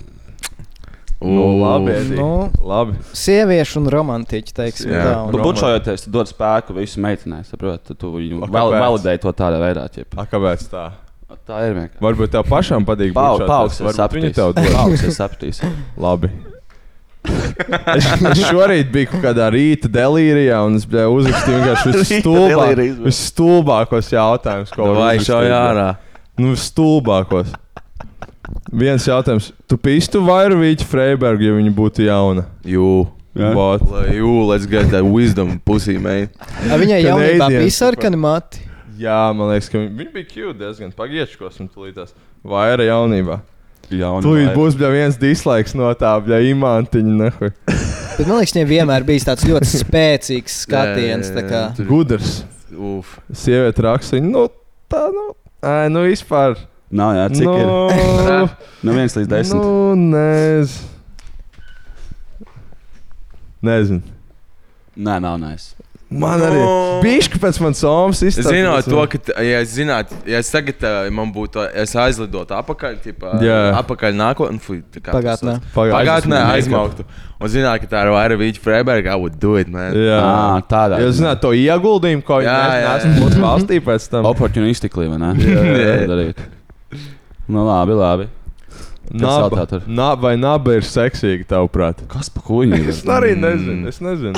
Nu, labi,
Ū.
Edī.
Nu.
labi.
Sieviešu un romantiķu, teiksim
Jā.
tā.
Tu
Un,
bučojoties, tu dod spēku visai meitenei. Saproti, tu viņu
A,
val-
kāpēc?
validēji to tādā veidā. Ķip.
A, kāpēc tā?
Tā ir vienkārši.
Varbūt tev pašam patīk
Pau-
bučoties.
Paaugs,
Varbūt
es saprotu.
viņa tev dod.
Paaugs, es saprotu.
Labi. es, es šorīt biju kaut kādā rīta delīrijā, un es biju uzrakstījis vienkārši visstulbāk-
delīrijas, bļa.
visstulbākos jautājumus, ko var
Vai
uzrakstīt,
šauj
bļa.
ārā?
Nu, visstulbākos. Viens jautājums. Tu pistu vairu Vīķu Freibergu, ja viņa būtu jauna?
Jū.
Jā. Bot.
Lai, Jū, let's get that wisdom pussy, man.
a, viņai jau
Canadians.
bija sarkani mati.
Jā, man liekas, ka viņi, viņi bija cute diezgan pagriezkos un tulītās. Vaira jaunībā.
Jā,
Tūlīt būs bļa, viens dislikes no tā, bļa, imantiņa. Nehuj.
Bet, man liekas, viņai vienmēr bija tāds ļoti spēcīgs skatiens. tā kā.
Tur-
Gudrs.
Uf.
Sieviete raksta, viņa, nu, tā, nu, ā, nu, vispār.
Nav jā, cik ir?
nu, ir?
No 1 līdz 10.
Nu, nez... Nezinu.
Nē, nav nē.
Man arī
No.
bija pēc manas somas nu, izstāstījis.
Zinot to, ka, t- ja es zinātu, ja es tagad ā, man būtu, ā, es aizlidotu apakaļ, tipā,
Jā.
apakaļ nākotnē, fui, tā kā.
Pagātnē.
Pagātnē aizmauktu. Un zinātu, ka tā ir vaira Vīķa Freiberga, I would do it, man.
Jā,
Ā, tādā.
Jūs zināt to ieguldījumu, ko
Ah, Jā,
viņi
jā,
nesmu mūsu valstī pēc tam.
Opportunistically, vai ne?
jā, jā.
Tā darīt. Nu, labi, labi.
Naba,
sauc tā tur?
naba, vai naba ir seksīga, tavuprāt?
Kas pa kuņi?
Es arī
Mm.
nezinu. Es nezinu,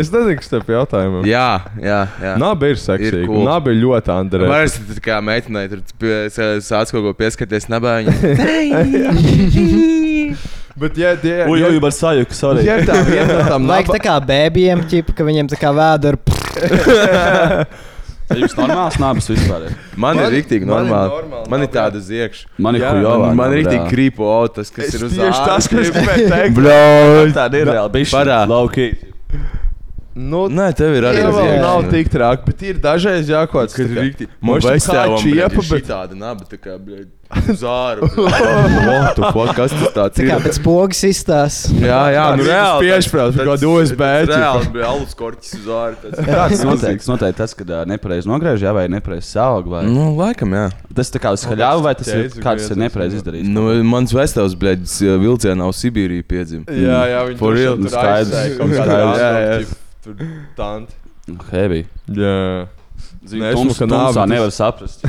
es nezinu kas tev jautājumam.
Jā, jā, jā.
Naba ir seksīga.
Ir cool.
Naba ir ļoti Andrejs.
Vairs tā kā meitenei tur pie- sā- sāc kaut ko pieskarties nabai. viņa-
Bet, ja, ja,
Ui,
ja,
ui, var sajūta, sorry.
ja tā viena no tām
Laik tā kā bēbijiem, ķip, ka viņiem tā kā vēda ir.
Jums normāls nāps vispār. ir?
Man ir
Man-
rīktīgi
man ir
normāli.
normāli
Man
naba,
ir
jā.
tāda uz iekšā.
Man ir
Jā,
kujovā.
Man, man ir rīktīgi krīpo, o, tas, kas
Es
ir uz
tieši tas, ko es
ārā.
gribēju teikt.
Bļauj!
Tāda ir reāla.
Parā.
Bišķi. Lauki.
Nu,
Nē, tev ir arī
Jā,
uz
vēl
iekšā.
nav tik traki, bet ir dažreiz jākots.
Kad rīktīgi. Man
Moši
vajag
kā
tev
čiepa,
čiepa,
bet-
bet tāda naba, tā kā, bļauj, uz āru. What the fuck, kas tas tāds
Tā kā
ir?
pēc pogas izstās.
Jā, jā, nu reāli.
Piešprāt,
tas-
kā
tas-
dos
tas
bēķi.
Reāli, bija alus korķis uz āru. tas-
Tas noteikti, noteikti tas, ka ā, nepareizi nogriež, jā, vai nepareizi saug. Vai... Mm.
Nu, laikam, jā.
Tas tā kā uz haļāvu, vai tas ir
Jēzu
kāds
Kristu,
ir nepareizi
jā.
izdarījis?
Nu, mans vesels, bļaļ, vilcienā uz Sibīriju piedzima.
Jā, jā, viņi
For real,
tur
skaidrs,
aizsēja
skaidrs,
kaut kādā
jā,
random,
jā.
ķip, tur tanti.
Heavy.
Jā.
Zinu,
esmu,
tums,
ka
ka nāvis tā
nāvis-
nevar saprast.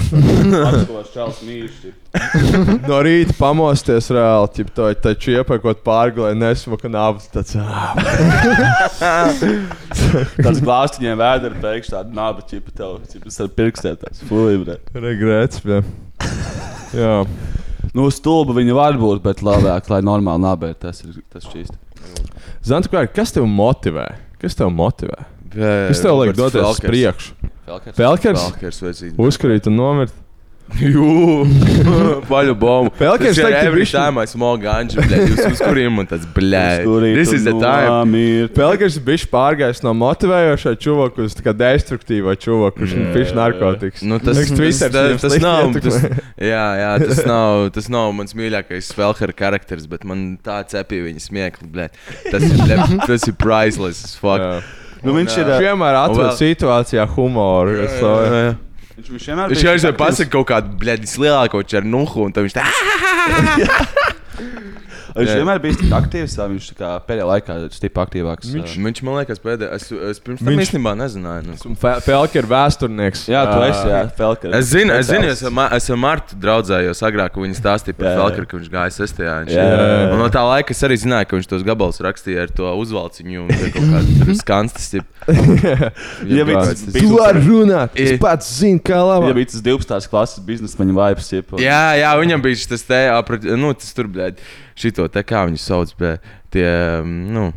Atskolas čels mīļš.
No rīta pamosties reāli, ķip, to taču iepakot pārgulē, nesmuka nāvis tāds. ā,
Tas glāstiņiem vēdera pēkšņi tāda nāba čipa tev, čipa ar pirkstiem tāds. Fui, bre.
Regrets, jā. Jā.
Nu, stulba viņa var būt, bet labāk, lai normāli nābē, tas ir tas šķīst.
Zantu, kas tev motivē? Kas tev motivē? Kas tev liek doties uz priekšu?
Felkers.
Pelkers?
Falkers vai cits.
Uzkrīt un nomirt.
Jū, paļu bombu.
Pelkins
Taču
teikt, ka
every
bišķi-
time I smoke ganja, bļēd, jūs uzkurījum un tas, bļēd. This is the time.
Amirt.
Pelgrims bija pārgājis no motivējošā čuvaka uz tā kā destruktīvā čuvaka, kurš ir pišķi narkotikas.
Nu, tas,
Liekas,
tas,
Twitter
tas,
viņam
tas
slikti
nav, tas,
ietekmē.
jā, jā, tas nav, tas nav mans mīļākais Svelhera karakters, bet man tā cepīja viņa smiekli, bļēd. Tas ir, bļēd, tas ir priceless as fuck.
Jā.
Nu, viņš ir.
Viņš
ā,
vienmēr atrod
vēl-
situācijā humoru. kas to ir.
jā.
Viņš viņš vienmēr
Viņš
bija
jau aizvien
aktīvs.
pasaka kaut kādu, bļēd, vislielāko černuhu, un tad viņš tā,
Viņš
Jā.
vienmēr bija tik aktīvs, tā viņš tā kā pēdējā laikā ir stipri aktīvāks.
Viņš,
Viņš...
viņš man liekas, pēdējais. Es, es pirms tam
Viņš-
īstenībā nezināju. Nu.
Fe- Pelka ir vēsturnieks.
Jā, tu esi, jā, Felker.
Es zinu, es zinu, es ar, Ma- es ar Martu draudzējos agrāk, kad viņš stāstīja par
Jā, jā.
Falkru, ka viņš gāja sestajā. Viņš,
Jā, jā, jā.
Un no tā laika es arī zināju, ka viņš tos gabalus rakstīja ar to uzvalciņu un tur kaut kādu skanstas.
Ja viņš
Tu
bija-
vari runāt. Es
I-
pats zinu, kā
Ja
labi.
bija tas 12. klases biznesmeņa vibes, jeb,
Jā, jā, viņam bija šis tas te, apra- nu, tas tur, blēd, šito te, kā viņi sauc, bet tie, nu,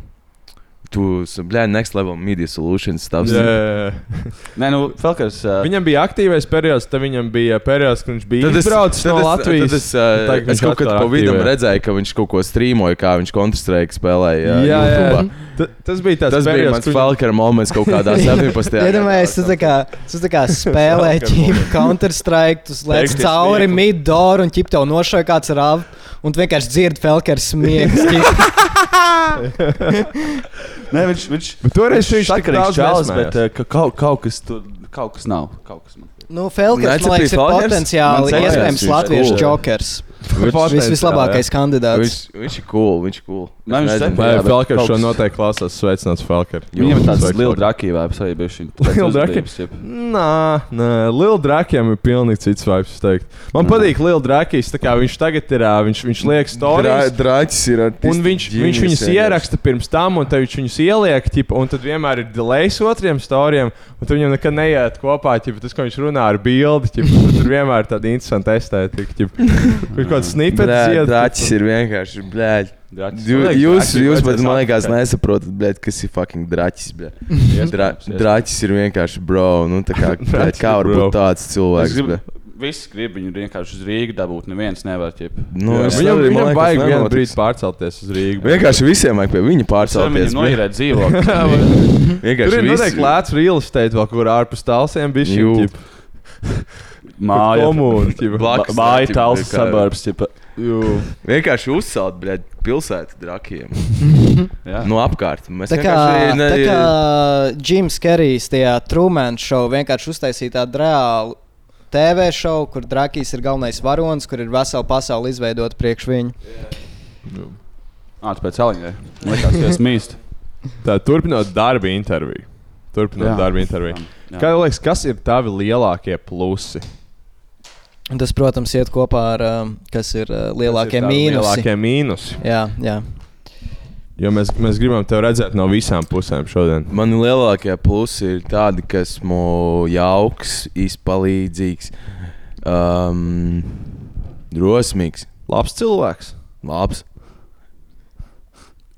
tu, blēd, next level media solutions stāvs.
Jā, jā, jā.
Nē, nu, Felkers. Viņa...
Viņam bija aktīvais periods, tad viņam bija periods, kad viņš bija
Tad es-
izbraucis no
tad es-
Latvijas.
Tad es, uh,
Tagad
es
viņš
kaut kad
atkal
pa vidu
aktīvē.
redzēju, ka viņš kaut ko strīmoja, kā viņš Counter-Strike spēlēja.
Jā, jā, jā.
YouTube.
Ta- Tas bija tas
Tas bija mans Falkera moments kaut kādā 17.
Iedomājieties, tu tā kā, tu tā kā spēlē ķīmi Counter-Strike, tu slēdz
Pēkšņi
cauri
smieklis.
mid-door un ķip tev nošauj kāds rāv, un tu vienkārši dzirdi Felkers smieklus. ķip.
Nē, viņš, viņš
Bet toreiz viņš tik
sakarīgs
daudz
čalis,
nesmējās.
bet eh, ka kaut, kaut kas tur, kaut kas nav. Kaut kas man.
Nu, Felkers, man
Necepīs
liekas, ir
Felkers?
potenciāli
Man
iespējams
Felkers,
latviešu
viņš-
jokers.
Potenciāli,
Vis, vislabākais
Viņš,
kandidāts.
viņš ir cool, viņš ir cool.
Nē, viņš
Es nezinu.
cepē. Jā,
Vai
bet
Falkers
kaut
šo
kas-
noteikti klausās? Sveicināts, Falker.
Viņam ir tāds
Sveicināts,
liels
Falker.
drakīvs vibes arī bija šī.
Lil Draki? Nā, nē, Lielā Drakiem ir pilnīgi cits vibes. es teiktu. Man patīk Lielā Drakijas. Viņš tagad ir, ā, viņš, viņš liek stāstu.
Draķis ir
Un viņš, viņš viņus ieraksta pirms tam, un tad viņš viņus ieliek, ķipa, un tad vienmēr ir delays otriem stāstiem, un tad viņam nekad neiet kopā, ja tas, ko viņš runā ar bildi, ķipa, tad tur vienmēr ir tāda interesanta estētika. ķipa. Tur ir kaut kāds snippets,
Brā,
iet,
draķis ir vienkārši, blēļ. Jū,
Man liekas,
jūs,
draķis
jūs
vajadzēs
pat, man liekas,
apskatīt.
nesaprotat, blēļ, kas ir fucking draķis, blēļ. Dra,
iespējams.
draķis ir vienkārši, bro, nu tā kā, blēļ,
Draķis
kā
ir
var
bro.
būt tāds cilvēks, blēļ.
Visi grib viņu vienkārši uz Rīgā dabūt. Neviens nevar ķip.
Nu,
Jā,
es
Viņam,
arī, man
viņam
liekas,
vajag vienu
nenotiks.
brīdi pārcelties uz Rīgā.
Vienkārši visiem vajag pie viņa pārcelties.
Viņam noīrēt dzīvokli.
blēļ.
Tur
Vienkārši
ir
visi-
noteikti lēts real estate, vēl kur ārpus tālsiem bija šī
Jū.
Māja.
komūna.
Blakus
Māja
tā,
tāls
ķip, kā-
suburbs. ķip.
Vienkārši uzcelt, blēd, pilsētu drakiem.
Jā.
no apkārt. Mēs
Tā kā,
vienkārši ne-
tā kā Jims Kerijs tajā Truman show vienkārši uztaisīja tādu reālu TV šovu, kur Drakijs ir galvenais varonis, kur ir vesela pasaule izveidota priekš viņu.
Ā, tu pēc aliņa. Man liekas, ka es mīstu.
Tā, turpinot darba interviju. Turpinot
Jā.
darba interviju. Kā tev liekas, kas ir tavi lielākie plusi?
Un Tas, protams, iet kopā ar um, kas ir uh, lielākie
Kas ir tavi
mīnusi.
Lielākie mīnusi.
Jā, jā.
Jo mēs, mēs gribam tevi redzēt no visām pusēm šodien.
Man lielākie plusi ir tādi, ka esmu jauks, izpalīdzīgs, um, drosmīgs,
Labs cilvēks.
labs,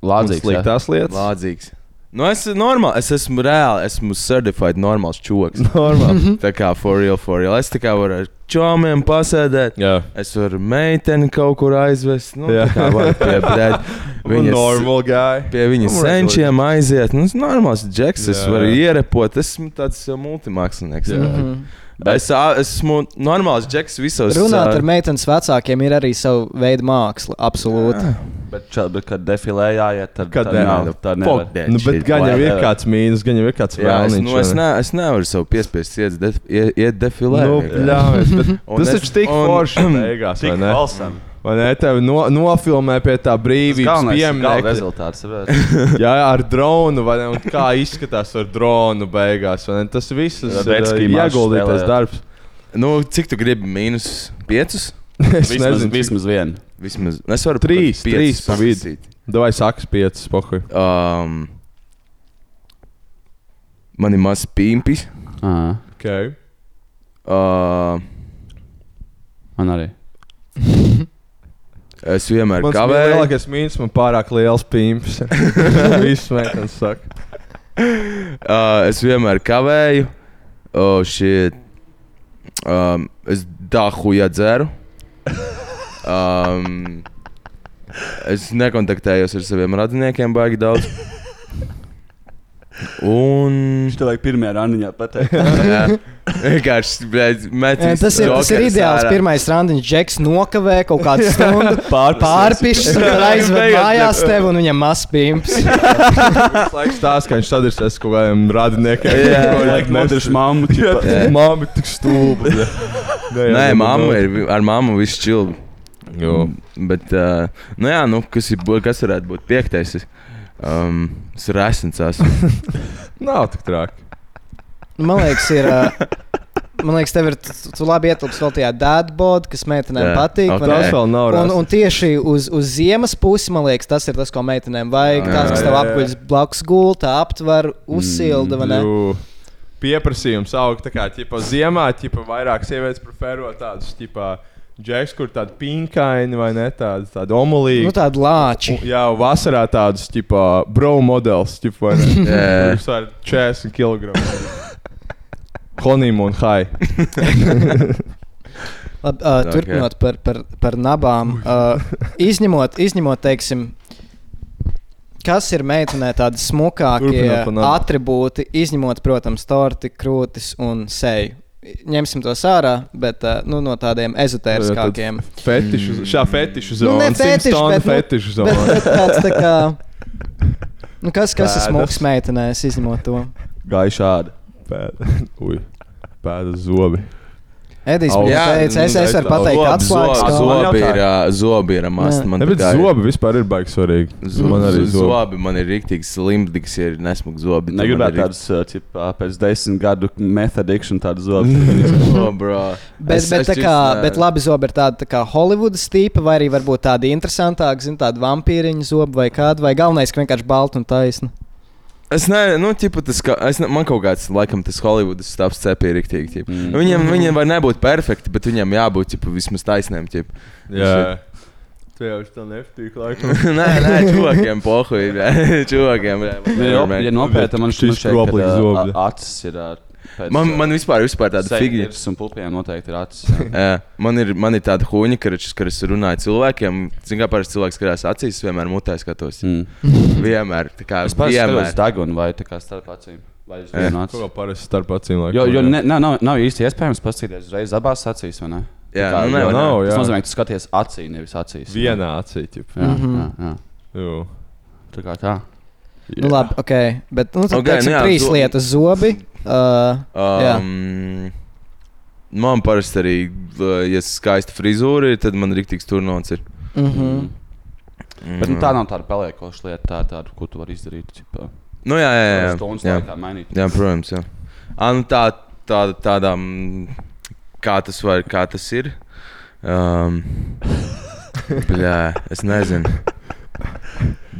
Lādzīgs. jā.
Sliktās lietas.
lādzīgs. Nu, es, normāli, es esmu reāli, esmu certified normāls čoks.
Mhm.
Normāli.
tā kā for real, for real. Es tā kā varu ar čomiem pasēdēt.
Jā.
Es varu meiteni kaut kur aizvest. Nu,
Jā.
tā kā var pie brēd-
Viņa
viņas-
normāla gāja.
Pie viņa
Nu,
senčiem aiziet. Nu, tas ir normāls džeks. Es
Jā.
varu ierepot. Esmu tāds uh, multimākslinieks.
Mhm.
Es ā, esmu normāls džeks visos. uh,
Runāt
ā,
ar meitenes vecākiem ir arī sava veida māksla. Absolūti.
Bet, ča, bet kad defilē jāiet, tad
Kad
tad
nē,
nav,
nu,
tad nevar.
fuck that
Nu, bet
shit,
gan jau ir
whatever.
kāds mīnus, gan jau ir kāds
Jā, es,
vēlniņš.
nu, es,
vai ne?
ne, es nevaru sev piespiest, iet, de, iet, iet defilē.
Nu,
vienkārši.
pļāvies, bet
Un
tas
es-
taču tik
un-
forši beigās, vai
Tik
ne?
balsam.
Vai ne? Tev no, nofilmē pie tā brīvības
Galvenais ir gala
pieminiekta.
rezultāts. saproti?
Jā, jā, ar dronu. vai Ne, un kā izskatās ar dronu beigās? vai ne? Tas viss ir
Jā, Retski
uh,
mačs
ieguldītais
spēlējot.
darbs.
Nu, cik tu gribi? Mīnus piecus?
Es
Vismaz,
nezinu,
vismaz vienu.
Vismaz. Es varu
Trīs,
pat
trīs
piecus
pa vidu.
paprasīt.
Davai sakas piecas, pohuj.
Um, man ir mazs pīmpis.
Okay.
Uh,
Man arī.
es vienmēr
Mans
kavēju.
lielākais mīnus man pārāk liels pīns. Viss meklējums saka.
Uh, es vienmēr kavēju. Oh, shit. Um, es dahu iedzeru. Um, es nekontaktējos ar saviem radiniekiem baigi daudz. Un.
Viņš tev vajag pirmajā randiņā pateikt.
jā, Vienkārši, blēd,
Jā,
metis.
Eh, Tas ir, tas ir
jokers
ideāls.
ārā.
Pirmais randiņš, Džeks, nokavē kaut kādu stundu. Pārpišķis, tad aizved
Beigās
mājās tevi un viņam mazs pimps.
Visu laiku stāsta, ka viņš sadarbojas ar kaut kādiem radiniekiem.
Jā,
Ko
Lai
viņš
modrs
nes-
mammu.
Jā,
tipa,
tas Nu, mamma ir tik stulba. bļa. jā,
Nē,
jā,
mamma
jā.
ir vi- ar mammu viss čili.
Jo.
Bet, uh, nu jā, nu, kas, ir, bu- kas varētu būt piektais? Es, Um, es esmu resns.
Nav tik traki.
Man liekas, ir. ā, Man liekas, tev ir. Tu, tu labi ietilpst vēl tajā dēdbodā, kas meitenēm
Jā.
patīk.
Ok.
vai ne?
Tas vēl nav
Un,
rāsts.
un tieši uz, uz ziemas pusi, man liekas, tas ir tas, ko meitenēm vajag.
Jā,
Tas,
jā,
kas tev
jā. Mm,
apguļas blakus gultā, aptver, uzsilda. vai ne?
Jū. Pieprasījums aug tā kā ķipa, ziemā, ķipa, vairāk sievietes preferē tādus ģipā, džeks, kur tāda pinkaini vai ne tāda, tāda omulīga.
Nu, tādi lāči.
Jā, vasarā tādas, tipā, bro modelis, tipā,
Jā.
kurš ar 40 kg. Honim un hai.
Lab, uh,
Tā,
turpinot par, par, par nabām, uh, izņemot, izņemot, teiksim, kas ir meitenē tādi smukākie
Turpinot par nabām.
attribūti, izņemot, protams, torti, krūtis un seju. Ņemsim to sārā, bet uh, nu, no tādiem ezotēriskākiem.
Fetišu, šā fetišu zonā.
ne fetišu, bet, nu,
fetišu
Bet,
zonā.
bet tāds, tā kā, nu, kas, kas ir
Pēdas.
smuks meitenēs, izņemot to?
Gāja šādi.
Pēda, uj, pēda zobi.
Edijs
Au.
man
Jā,
teica, es, es varu pateikt, atslēgas.
Zobi,
zob.
zobi
kā-
ir, ā, zobi ir
Nē.
mast. Man
Ne, bet
tā kā ir-
zobi vispār ir baigi svarīgi.
Zo-
Man arī
zo-
zobi.
zobi. Man ir rīktīgi slimdīgs, ir nesmugs zobi.
Negribētu tādus, tipā, pēc desmit gadu metadikšanu tādu zobu.
zobi.
Bet, es, bet, es kā, bet labi, zobi ir tāda tā kā Holivudas tipa, vai arī varbūt tāda interesantāka, zina, tāda vampīriņa zoba vai kāda, vai galvenais, ka vienkārši balta un taisna.
Es nezinu, nu, tipa, tas, kā, es ne, man kaut kāds, laikam, tas Holivudas stāsts cepīja rīktīgi. Mm. Viņam, viņam var nebūt perfekti, bet viņam jābūt tipa, vismaz taisnēm. Tipa.
Jā. Tu jau tā nepatīk, laikam.
nē, nē, čūvakiem pohuļ, čūvakiem.
Ja ja nopietni, man šķiet,
Šis
šeit, kad,
kroplīgs
ā,
zobs.
ā, acis ir. ā, pēc,
Man,
ā,
man vispār, vispār tāda figūra.
Sēkļus un plūpiem noteikti ir acis. jā.
Jā, man ir, man ir tāda huņa, ka es, kad es runāju cilvēkiem, zinu, kā parasti cilvēks skatās acīs, es vienmēr mutē skatos.
Mm.
Vienmēr. tā Kā,
Es pārspēju uz
vienmēr.
dagunu vai tā kā starp acīm. Vai uz vienu
Kaut
aci.
kā parasti starp acīm, laikam.
Jo, jo ne, nav, nav, nav īsti iespējams paskatīties uzreiz abās acīs, vai ne?
Jā,
Tā kā-
nu, nevar,
nav,
nevar.
jā.
Tas nozīmē, ka tu skaties acī, nevis acīs.
Vienā acī, tipa.
Jā,
Mhm.
jā, jā.
Jū.
Tā kā tā.
Yeah. Nu, labi, ok. Bet, nu, tad,
Ok,
okay, teiksim,
nu jā,
jā, trīs
zo-
zo... lietas - zobi. Uh, jā.
Um, man parasti arī, l- ja skaista frizūra ir, tad man rīktīgs turnons ir. Mm.
mm -hmm.
Mhm.
Bet, nu, tā nav tāda pelēkoša lieta, tā, tāda, ko tu vari izdarīt. Tipā,
Nu, jā, jā, jā.
stundas
jā.
laikā mainīt.
jā protams. Jā. À, nu, tā, tā, tādā, mm, kā tas var, kā tas ir. Um, jā, es nezinu.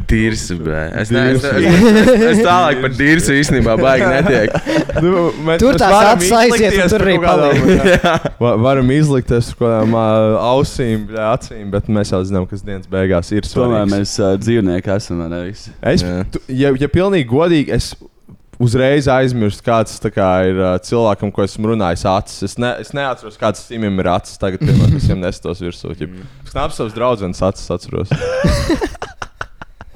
Dirsi, bē. Es nezinu,
Dirsi.
es, es, es tālāk par dirsi īstenībā baigi netiek.
Nu, mēs-
Tur
mēs
tās
varam
acis aiziet, un
izlikties
tur
par
arī
kaut kādām,
paliek.
jā. Va- Varam izlikties par kaut kādām ā, ausīm, bļā, acīm, bet mēs jau zinām, kas dienas beigās ir
Tomēr
svarīgs.
mēs uh, dzīvnieki esam, vai ne? visi?
Es,
Jā.
tu, ja, ja pilnīgi godīgi, es uzreiz aizmirstu, kāds tā kā, ir ā, cilvēkam, ko esmu runājis, acis. Es, ne, es neatceros, kāds simim ir acis. Tagad pirmā visiem nestos virsū.
Mm.
ķip. Es nāku savus draugus acis atceros.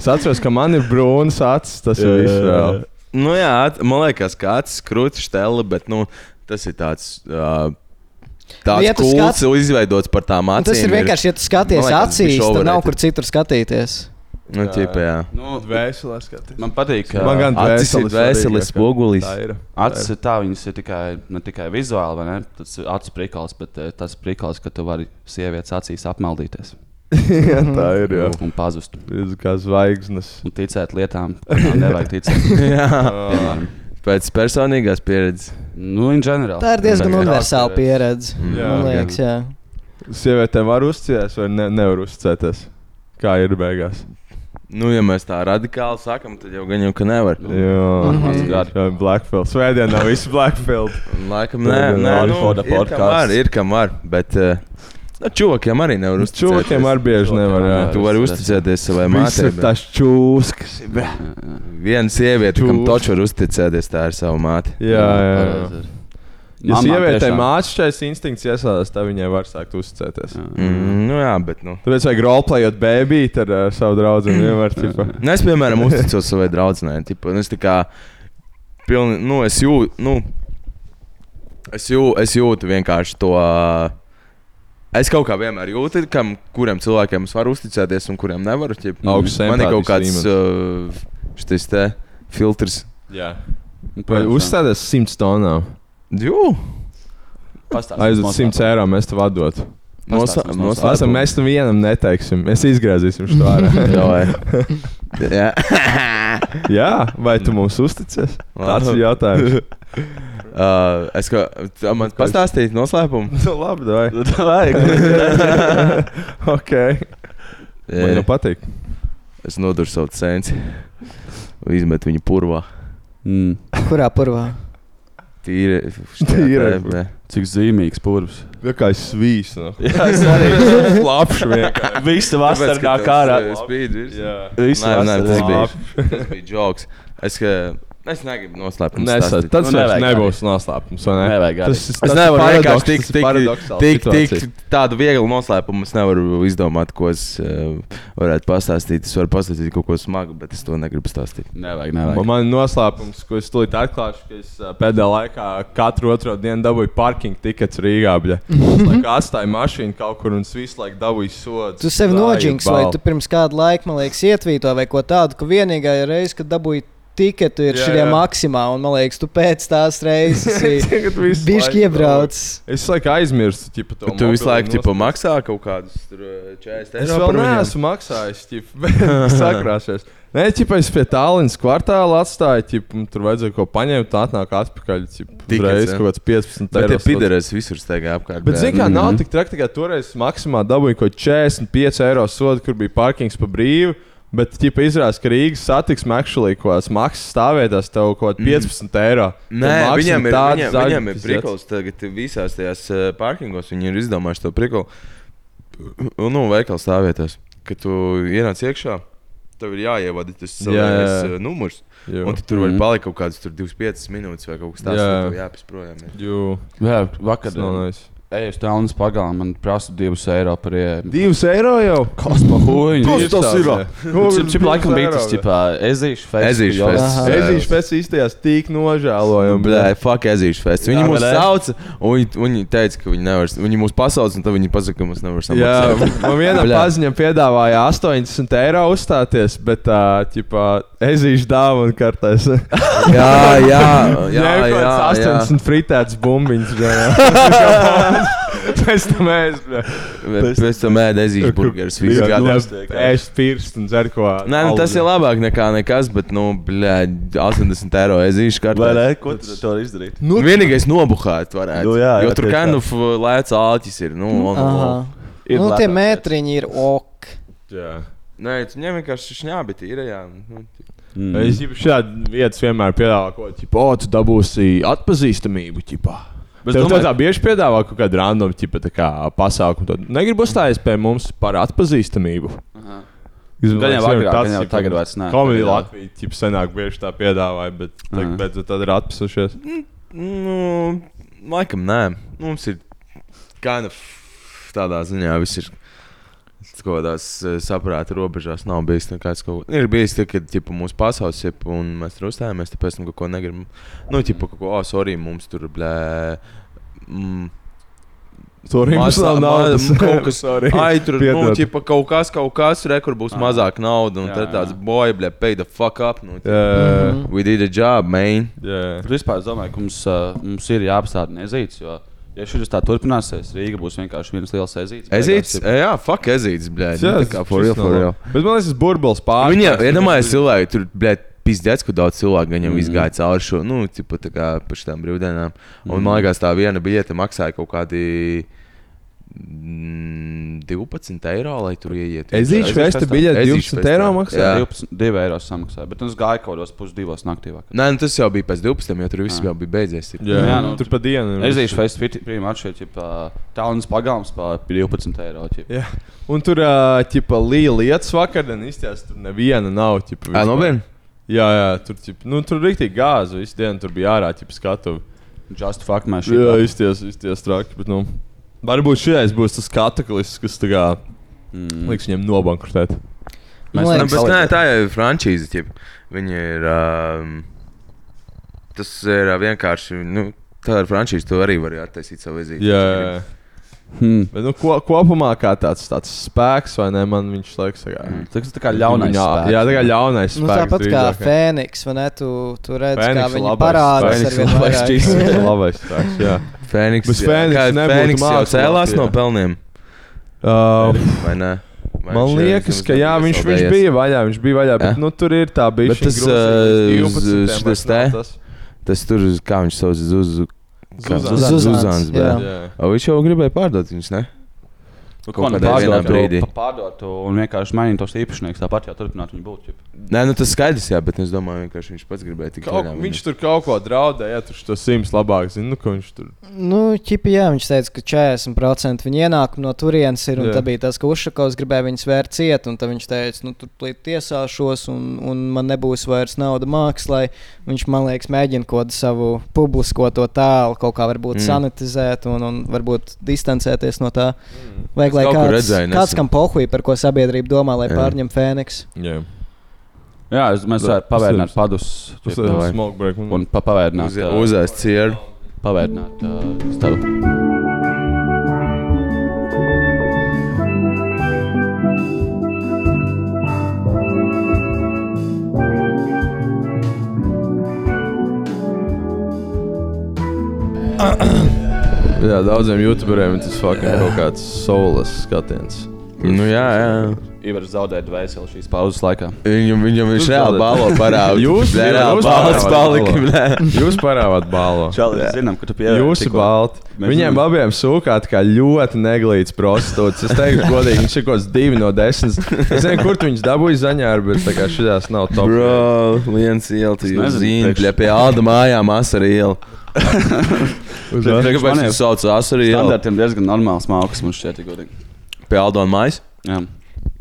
Es atceros, ka man ir brūns acis. Tas ir viss. vēl.
Nu, jā, at- man liekas, ka acis krūtis stela, bet nu, tas ir tāds. Uh, Tāds
Nu, Ja tu
kults
skat-
ir izveidots par tām acīm.
Tas ir vienkārši, ja tu skaties
Man liekas,
acīs,
viņš
tad nav
overrated.
kur citur skatīties.
Nu, ķipa, jā.
Nu,
Dvēselē skaties.
man patīk, ka
Man gan
Acis ir
dvēseles
vēselis,
svarīgākā.
spogulis.
Tā ir.
acis ir tā, viņas ir tikai, ne tikai vizuāli, vai ne? Tas ir acis prikals, bet eh, tas prikals, ka tu vari sievietes acīs apmaldīties
jā, tā ir. Jā.
Mm.
un pazust.
Redzu, Kā zvaigznes.
Un ticēt lietām, kurām nevajag ticēt.
jā,
Oh,
Piemēram,
pēc personīgās pieredzes.
nu, in general.
Tā ir diezgan
Jā.
universāla pieredze.
Mm.
Jā,
Man liekas, jā.
Sievietēm var uzticēties vai ne, nevar uzticēties? Kā ir beigās?
Nu, ja mēs tā radikāli sakām, tad jau gan jau ka nevar.
Jā, tas
Mm-hmm.
Mhm.
ir Blackfield. Svētdienā viss Blackfield.
Laikam, nē,
Tad,
nē,
jā,
nu,
Forda
ir kam
podcasts.
var, ir kam var. Bet eh, nu, čūvakiem arī nevar uzticēties.
Čūkiem arī bieži nevar. jā.
Tu vari uzticēties savai
Viss
mātei.
ir
bet
tas čūskas.
Viena sieviete, kam
Čūs.
taču var uzticēties, tā ir sava māte.
Jā, jā. jā. Ja
Mamā
sievietei
tiešām.
mākslinieks instinkts iesādās, tad viņai var sākt uzticēties.
Mm, nu jā, bet nu.
Tāpēc vajag roleplayot bēbīt ar uh, savu draugu. Vienmēr, tipa,
Nu, es, piemēram, uzticos savai draudzenei. Tipa, nu, es tā kā. Pilni, nu, es jūtu, nu, es, jū, es jūtu vienkārši to. ā, Es kaut kā vienmēr jūtu, kam, kuriem cilvēkiem es varu uzticēties un kuriem nevaru. Ķip,
Augsts
man ir kaut kāds
empātijas
uh, šis te filtrs.
jā.
Protams,
Uzstāties 100 tonām.
Jū,
Pastāsti
Aizved
mums
100
par-
eiro, mēs tev atdot.
nosa-
Pastāsti mums
noslēpums.
Esam, mēs tam vienam neteiksim. Mēs izgriezīsim šo ārā.
Jā, jā.
Jā, vai tu mums uzticies? Tāds ir jautājums.
Uh, es kā tā man pastāstīju noslēpumu.
Nu, labi, vai?
Tā vajag.
ok. nu Man jau patīk.
Es noduru savu cenci. Izmetu viņu purvā.
Mm.
Kurā purvā?
Tīri.
Tīri.
Tīri.
Cik zīmīgs purvs.
Jā, kā es svīstu. No.
Jā, es arī.
Slapšu nu. vienkārši.
Visu vasaru kā kārā.
Spīd.
Jā.
Visu
eh, Nē, nē, tas
vasaru.
bija. Tas bija joks. Es, ka, es negribu noslēpumu.
Nē, tas
stāstīt.
tas
Nu,
vairs
nevajag
nebūs noslēpums. vai ne?
Nevajag arī.
Tas ir-
Es
tas ir
nevaru
paradoks,
vienkārši tik,
tas ir
tik,
paradoksāla
tik, tik
situācija.
tādu vieglu noslēpumu. Es nevaru izdomāt, ko es uh, varētu pastāstīt. Es varu pastāstīt kaut ko smagu, bet es to negribu stāstīt.
Nevajag,
Un
nevajag.
Man ir noslēpums, ko es tulīt atklāšu, ka es ā, pēdējā laikā katru otro dienu dabūju parking tikets Rīgā. bļa. Es laiku Atstāju mašīnu kaut kur un es visu laiku dabūju sodu.
Tu sev noģinks, vai tu pirms kāda laika, man liekas, ietvīto vai ko tādu, ka vienīgā reize, kad dabūji tiketu, ir
Jā,
šī
jā.
maksimā, un man liekas, tu pēc tās reizes
Bišķi
bišķi iebraucis.
Es laiku aizmirstu, tipa, to
Bet tu visu
mobilo
laiku
nost-
tipo, maksā kaut kādus tur, eh,
Es
40 eiro.
vēl
par viņiem?
neesmu maksājis, tipa, sakrāšies. Nē, tipa, es pie tālruņa kvartāla atstāju, tipa, un tur vajadzēja ko paņemt, tā atnāk atpakaļ.
Tikets,
Tikai reizes
jā.
kaut kāds 15
Bet tie
eiro sots.
pideres visur staigā apkārt.
Bet, zināmā mērā,
Mm.
nav tik traki, ka toreiz maksimāli dabūju kaut 45 eiro sodu, kur bija parkings pa brīvu. Bet, ja izrādās, ka Rīgas satiksme actually kaut kādas maksas stāvvietās, tev kaut kāda 15 eiro.
Mhm. Nē,
Tad maksas
viņiem ir,
tādas
viņiem,
zaļas
viņiem ir
pizdec.
priklis tagad visās tajās eh, parkingos. Viņi ir izdomājuši to priklu. Nu, veikala stāvvietās. Kad tu ienāc iekšā, tev ir jāievada tas
Jā, jā.
savējais eh, numurs.
Jū.
Un tu tur var
Mhm.
palikt kaut kādas tur 25 minūtes vai kaut kas tāds.
Jā.
Jā, jāpisprojām.
Jū,
Jā,
tas
vakar.
nav nice.
Ej uz Taunas pagalmu, man prasa 2 eiro par ielu.
2 eiro jau?
Kas pa huņu?
tas ir? Nu,
Cip, cip laikam bija tas, tipā, ezīšu fests.
Ezīšu
jo-
fests.
Aha.
Ezīšu pēc īstajās tik nožēlojami.
Blē, Nu, fuck, ezīšu fests. Viņi
Jā,
mūs
bet, eh.
sauca, un viņi, viņi teica, ka viņi nevar. Viņi mūs pasauca, un tad viņi pasaka, ka mēs nevaram
Jā,
samaksāt.
man vienam
Bļā.
paziņam piedāvāja 80 eiro uzstāties, bet, ā, tipā, ezīšu dāvana kartēs.
jā, jā, jā,
Jā,
jā,
kaut
jā.
kāds 80 fritētas bumbiņas. bļā. Pēc tam mēs
Pēc pēc tam ēda ezīšu burgerus. Viss gadās.
ēst pirkstu un dzer ko.
Nē, nu, tas ir labāk nekā nekas, bet, nu, blēdi, 80 eiro ezīšu
Vai
kartē.
nē, ko tu to vari izdarīt?
Nu, Vienīgais nobuhāt varētu.
Nu, jā, jā,
jo tur
tieši
kanuf lēca āķis ir. Nu, un,
Aha.
Ir
Nu, tie
lētāk.
metriņi ir ok.
labi.
Nē, Nu, tu ņem vienkārši šņābi tīri, jā. Nu, tik-
Mm.
Es jau šādu vietu vienmēr piedāvāju, ko tipo, o, tu dabūsi atpazīstamību. Ķipā. Bet tev domāju, tā bieži piedāvā kaut kādu random tipu pasākumu. Tad negribu uzstāties pie mums par atpazīstamību. Es
Gan jau
domāju,
agrāk,
tas
gan jau
tipa,
tagad vairs nē. Tagad
Komēdija
jau-
Latvija jau senāk bieži tā piedāvāja, bet
Aha.
tagad beidzot tad ir atpasušies.
Nu, laikam, nē. Mums ir kind of tādā ziņā viss ir. Kaut kādās eh, saprāta robežās nav bijis nekāds. Kaut... Ir bijis tā, ka tipa, mūsu pasaules ir un mēs tur uzstājāmies, tāpēc mēs kaut ko negribam. Nu, tipa, kaut ko, oh, sorry, mums tur blē. Mm,
Tur jau
Mazā-
nav naudas.
ma- kaut kas-
Sorry.
Ai, tur nu,
Piedod. Ah.
tipa, kaut kas, kaut kas, re, kur būs mazāk naudas, un
Jā,
tad
jā.
tāds boy, blē, pay the fuck up. Nu, tipa,
Jā,
We did a job, man.
jā.
Bet Vispār es domāju, ka mums, uh, mums ir jāapstāda nezīts. Jo, ja šis tā turpināsies, Rīga būs vienkārši viens liels ezīts.
Ezīts, jā, fuck, ezīts, blē.
Jā,
Tā kā for real, for real.
Bet man liekas, tas burbulis pārāk.
Viņa iedomājās cilvēku, tur bija pizdzēts, ka daudz cilvēku viņam mm. izgāja cauri šo, nu, tipu, tā kā par šīm brīvdienām. Un man
Mm.
liekas, tā viena biļete maksāja kaut kādi. mm, 12 eiro, lai tur ieietu.
Ezīšu festa biļete 12 eiro maksā?
Jā,
2 eiro samaksāja. Bet es gāju kaut kādos pusdivos naktī. vakar.
Nē, nu, tas jau bija pēc 12, jo tur viss
Jā.
jau bija beidzies. ir.
Jā, Ah. jā
Jā,
nu,
nu,
tur pa dienu. ir
Ezīšu festivālā pirmā atšķirība ir uh, Taunas pagalms par 12 eiro. ķip.
Jā. Un tur bija līnija lietas vakarā, izties tur neviena nav. Ķipa,
Ā,
nu,
vispār.
nopietni.
nu, Jā, jā, tur bija nu, tur rīktīgi gāzi, visu dienu tur bija ārā, jau skatu.
Just fuck my shit.
Jā, izties, izties traki. Bet, nu, varbūt šis būs tas kataklis, kas tā kā, mm. liks viņiem nobankrutēt.
Man
Nu,
liekas,
bet, nē, tā jau ir frančīze. Ķip. Viņi ir. Um, tas ir ā, vienkārši. Nu, tā ir frančīze. To arī var attaisīt savu vizīti.
Jā, jā. jā.
Hmm.
Bet, nu, ko, kopumā kā tāds, tāds spēks, vai ne? Man viņš liekas, ka
Tas ir tā kā ļaunais.
Jā,
spēks.
jā, tā kā ļaunais.
Nu,
spēks
tāpat kā
drīzāk.
Fēniks, vai ne? Tu, tu redz, kā
Fēniks ir
viņi
labais
parādās ar
spēks.
vien
Fēniks ir labais spēks,
vairāk.
Labais spēks, jā.
Fēniks,
Bet Fēniks
kā,
nebūtu
Fēniks jau
mākslinieks,
cēlās
jā.
no pelniem.
Uh,
Vai ne? Vai
man
viņš eh, ir
liekas,
vismaz
ka jā,
neesmu
viņš, viņš
zaudējies?
bija vaļā. Viņš bija vaļā, bet
Jā.
nu, tur ir tā bija.
Bet tas, uh, šis te? Tas tur, uz- kā viņš sauc, Zuzu. kā-
Zuzans.
Zuzans,
Zuzans,
jā.
bet- O, viņš jau gribēja pārdot viņus, ne?
Ko nu
kādā vienā
pārdot,
brīdī.
to- pa- pārdot to un vienkārši mainīt tos īpašniekus. Tāpat jau turpināt viņu būt. ķip.
Nē, nu tas skaidrs, jā, bet es domāju, ka viņš pats gribēja tikai
Kaut, viņš tur kaut ko draudēja, tur tas simts labāk zina, nu, ko viņš tur.
Nu, ķipi, jā, viņš teica, ka 40% viņa ienākumu no turienes ir.
Jā.
Tā bija tas, ka Ušakovs gribēja viņus vērt ciet, un tad viņš teica, nu, tur plīt tiesāšos, un, un man nebūs vairs nauda mākslā. Viņš, man liekas, mēģina kaut kādu savu publisko to tēlu kaut kā varbūt
Mm.
mm. sanitizēt un, un varbūt distancēties no tā. Mm. Vajag, lai
kaut kur
kāds,
redzēju nesen.
kāds kam pohuj, par ko sabiedrība domā, lai
Jā.
pārņem Fēniks.
Jā,
Jā, es, mēs varētu pavērināt padus
tas
ķip,
ir
vai-
smoke break. Un,
un pa- pavērināt. ā,
uzēst cieru.
Pavērināt ā, stabu.
jā, daudziem youtuberiem tas fucking kaut kāds soulas skatiens.
Nu jā, jā.
Ivar zaudēja dvēseli šīs pauzes laikā.
Viņam, viņam viņš
Tu
reāli
zaudē.
balo parāda.
Jūs-
Nē,
jūs-
reāli
jūs
balsts
zaudē.
palika. blē.
Jūs parāvāt balvu.
Čau, mēs zinām, ka tu pievērt.
Jūs esat balti.
Mēs
Viņiem
zinām.
abiem sūkāt, kā ļoti neglīts prostitūts. Es teiktu, godīgi, viņš ir kaut kāds divi no desmit. Es nezinu, kur tu viņus dabūji zaņāri, bet tā kā šajās nav top.
Bro, viens iela, tu jau
nezinu,
zini,
priekš-
bļa, pie Alda mājām asari iela.
Priekš
Tagad pēc
maniem
tam sauc asari iela.
Standartiem diezgan normāls mākslas man šķiet, ja godīgi.
Pie Alda mājas.
Jā.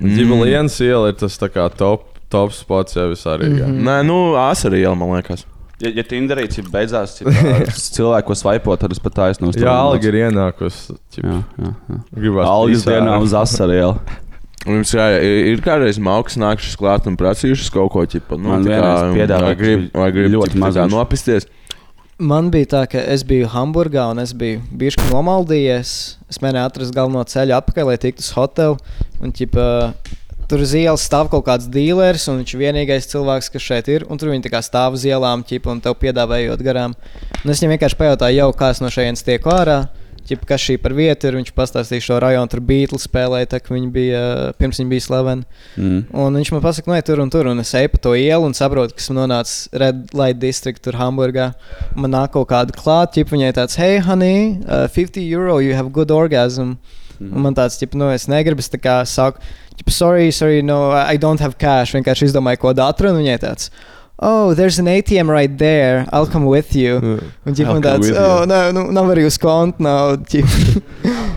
Ģimlienas
Mm.
iela ir tas tā kā top, top spots jau visā Rīgā.
Mhm.
Nē, nu, asari iela, man liekas.
Ja, ja Tinderī ķip, beidzās uh, ķip, ā, cilvēku svaipot, tad es pat taisnos.
Jā, alga ir ienākusi. ķip,
Jā, jā, jā.
Gribās
Algas
pīsā.
dienā uz asariem.
Mums kā, ir kādreiz mākslinieks nākušas klāt un prasījušas kaut ko tādu. Nu,
Man
tā
vienreiz
kā,
piedāvāja,
vai grib,
kas bija
vai grib
ļoti
ļoti maz
maziņš.
nopisties.
Man bija tā, ka es biju Hamburgā un es biju bijis nomaldījies. Es mēģināju atrast galveno ceļu atpakaļ, lai tiktu uz hotelu. Un, ķipa, tur uz ielas stāv kaut kāds dealers, un viņš ir vienīgais cilvēks, kas šeit ir. Un tur viņi tā kā stāv uz ielām, ķipa, un tev piedāvājot garām. Un es viņam vienkārši pajautāju, jau kas no šejienes tiek ārā. Ķipa, kas šī par vietu ir? Viņš pastāstīja šo rajonu, tur bija Beatles spēlēja, tā kā viņi bija pirms viņi bija slaveni.
Mm.
Un viņš man pasaka, no tur un tur, un es eju pa to ielu un saprotu, kas man nonāca Red Light District, tur Hamburgā. Man nāk kaut kāda klāta, tip viņai tāds, hei, honey, uh, 50 eiro, you have good orgasm.
Mhm.
Mm. Un man tāds, tip, nu, es negribu, es tā kā saku, tip, sorry, sorry, no, I don't have cash. Vienkārši izdomāju, ko datu, un viņai tāds. Oh, there's an ATM right there. I'll come with you. Un viņš
I'll
man
come
tāds,
with
oh,
you."
nav, nu, nav arī uz konta, nav. ķip."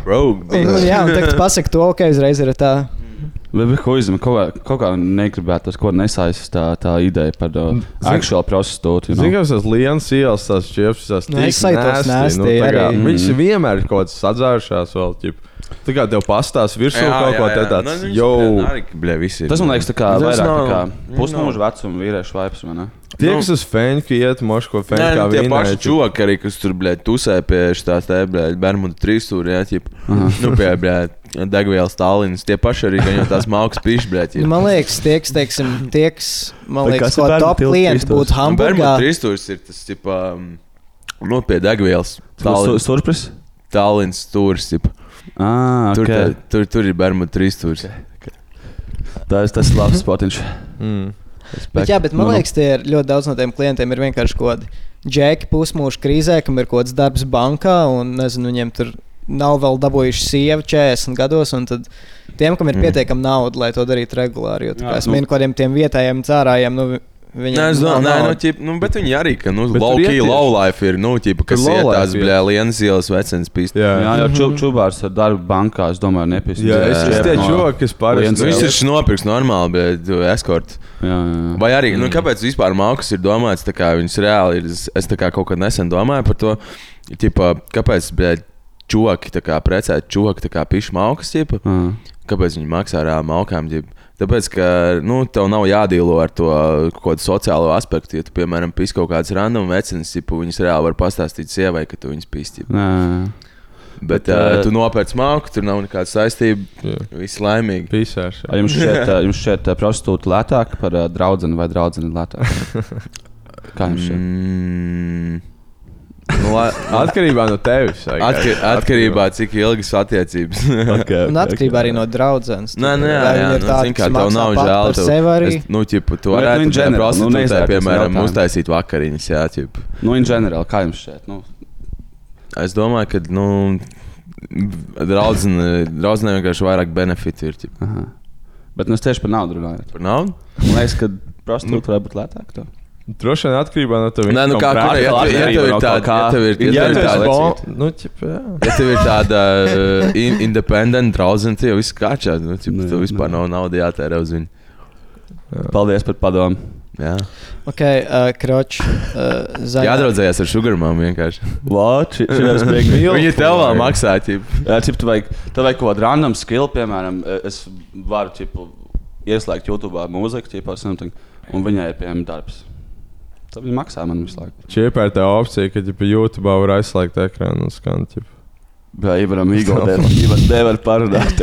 Bro,
Un, un, jā, un tagad pasaka to, ka izreiz ir tā.
Bet, bet, ko izņem, kaut, kā- kaut kā negribētu, tas, ko nesaistās tā, tā ideja par uh, aktuālu prostitūtu. You
Zinu,
know?
ka tas liels ielas, tas čips, tas
Nu, es sajūtos nasty arī.
Viņš
Mhm.
vienmēr ir kaut kāds sadzēršās vēl, ķip. Tā kā tev pastās virsū kaut ko te tāds,
Nu,
jau.
Tas man liekas, tā kā
Tas
vairāk
nav-
tā kā
nav.
pusmūža vecuma vīriešu vaips. vai ne?
Tie,
Nu.
kas uz fēniņa iet, moško
Nē,
fēniņa,
nu,
kā
tie paši
vienmēr.
čūlaki, arī, kas tur bija pusē pie šīs tādas Bermuda trīsstūra, jau nu, pie bļē, degvielas tālrunis. Tie paši arī, ka jau tās mākslas
Nu,
pišķi.
man liekas, tie, kas, teiksim, tie, kas, man
Tā
liekas,
kas ir
ko
bērnu
top
tiltu
klienti
kristos?
Nu,
būtu Hamburgā.
Bermuda trīsstūris ir tas, tipā, nu, pie degvielas
Su-
tālrunis.
Surpris?
Tālrunis stūris, tipā.
Ah,
Tur,
okay.
tā- tur, tur ir Bermuda trīsstūris.
Tas tas ir labs spotiņš.
Mm.
Bet, jā, bet man
Nu, nu.
liekas, tie ir ļoti daudz no tiem klientiem ir vienkārši kaut kādi džeki pusmūža krīzē, kam ir kaut kāds darbs bankā un nezinu, viņiem tur nav vēl dabūjuši sievu 40 gados. un Tad tiem, kam ir
Mm.
pietiekami nauda, lai to darītu regulāri, jo tā
Jā,
kā es
nu.
minēju kaut kādiem tiem vietējiem cērājiem, nu, Viņam
Nē, es
nav
domāju, nē, nu,
naudas.
ķip, nu, bet viņi arī, ka, nu,
Bet tur
low-key,
iet tieši.
low-life ir, nu, ķip, kas
Tur
ir
low life
tās,
iet.
blē, lienas ielas vecens pīst.
Jā,
Jā, jau čub, čubārs ar darbu bankā, es domāju, nepīst.
jā es esmu tie čoki, kas
Viens
parasti
Viņš taču nopirks normāli, bet uh, eskorts.
Jā, jā.
Vai arī, nu, kāpēc vispār mākslas ir domāts, tā kā viņas reāli ir, es- es tā kā kaut kad nesen domāju par to, ķipa, kāpēc, blē, čoki, tā kā precēt čoki, tā kā pišu mākslas, ķipa.
jā.
Kāpēc viņi maksā ar ā, malkām? ģip? Tāpēc, ka nu, tev nav jādīlo ar to kaut kādu sociālo aspektu. Ja tu, piemēram, pīs kaut kādas random vecenas, tad viņas reāli var pastāstīt sievai, ka tu viņas pīsti.
Nē, nē.
Bet, Bet
Bet, ā,
uh, tu nopērci māku, tur nav nekāda saistība.
Jā.
Viss laimīgi.
pisāši.
Vai Jums šķiet, ā, jums šķiet ā, prostitūta lētāka par ā, draudzeni vai draudzeni lētāka? Kā jums šķiet?
Mm. Nu, la...
Atkarībā no tevis. I guess.
Atker, atkarībā no tā, cik ilgas attiecības.
Un atkarībā arī no draudzenes.
nu, Nē, nē, jā,
Vai
jā,
viņa ir
nu,
tāda,
zini, kā
kas
tev
maksā
nav
pati
žēl.
par sevi arī?
es, nu, ķipu, tu
Bet, nu, in
varētu tam
general, nu,
prostitūtai,
neizvērtās
piemēram,
jautājumu.
uztaisīt vakariņas, jā, ķipu.
Nu, in general, kā jums šķiet? Nu,
Es domāju, ka nu, draudzene vienkārši vairāk benefitu ir. Ķip,
aha. bet nu, es tieši par naudu runāju.
par naudu?
Man liekas, ka prostitūta varētu būt lētāka. tev.
Droši vien atkarībā no tevis.
Nē, nu kā kur, ja, tu- ja tev ir tāda, ja tev ir, ja
Jā,
tev ir
tas ir
tāda,
labi. Nu, ķip, jā.
ja tev ir tāda uh, in- independent draudzene, tad jau viss kārčā. Nu, ķip,
Nē,
tev vispār
nē.
nav naudas jātērē uz viņu.
Paldies par padomu.
Jā,
Ok, uh, kroč. Uh, zaļā.
jādraudzējās ar sugarmām vienkārši.
Lāči, šis bija
Viņa tev vēl maksā, ķip.
Jā, cip, tev vajag, tev vajag kaut kādu random skill, piemēram, e, es varu cip, ieslēgt YouTube mūziku, cip, something, un viņai ir piemēram darbs. Tad viņi maksā man visu laiku.
Čiepa ir tā opcija, ka ģipa, YouTube var aizslēgt ekrānu un skan. Ģipa.
Jā, Ivaram īstenībā nevar parunāt.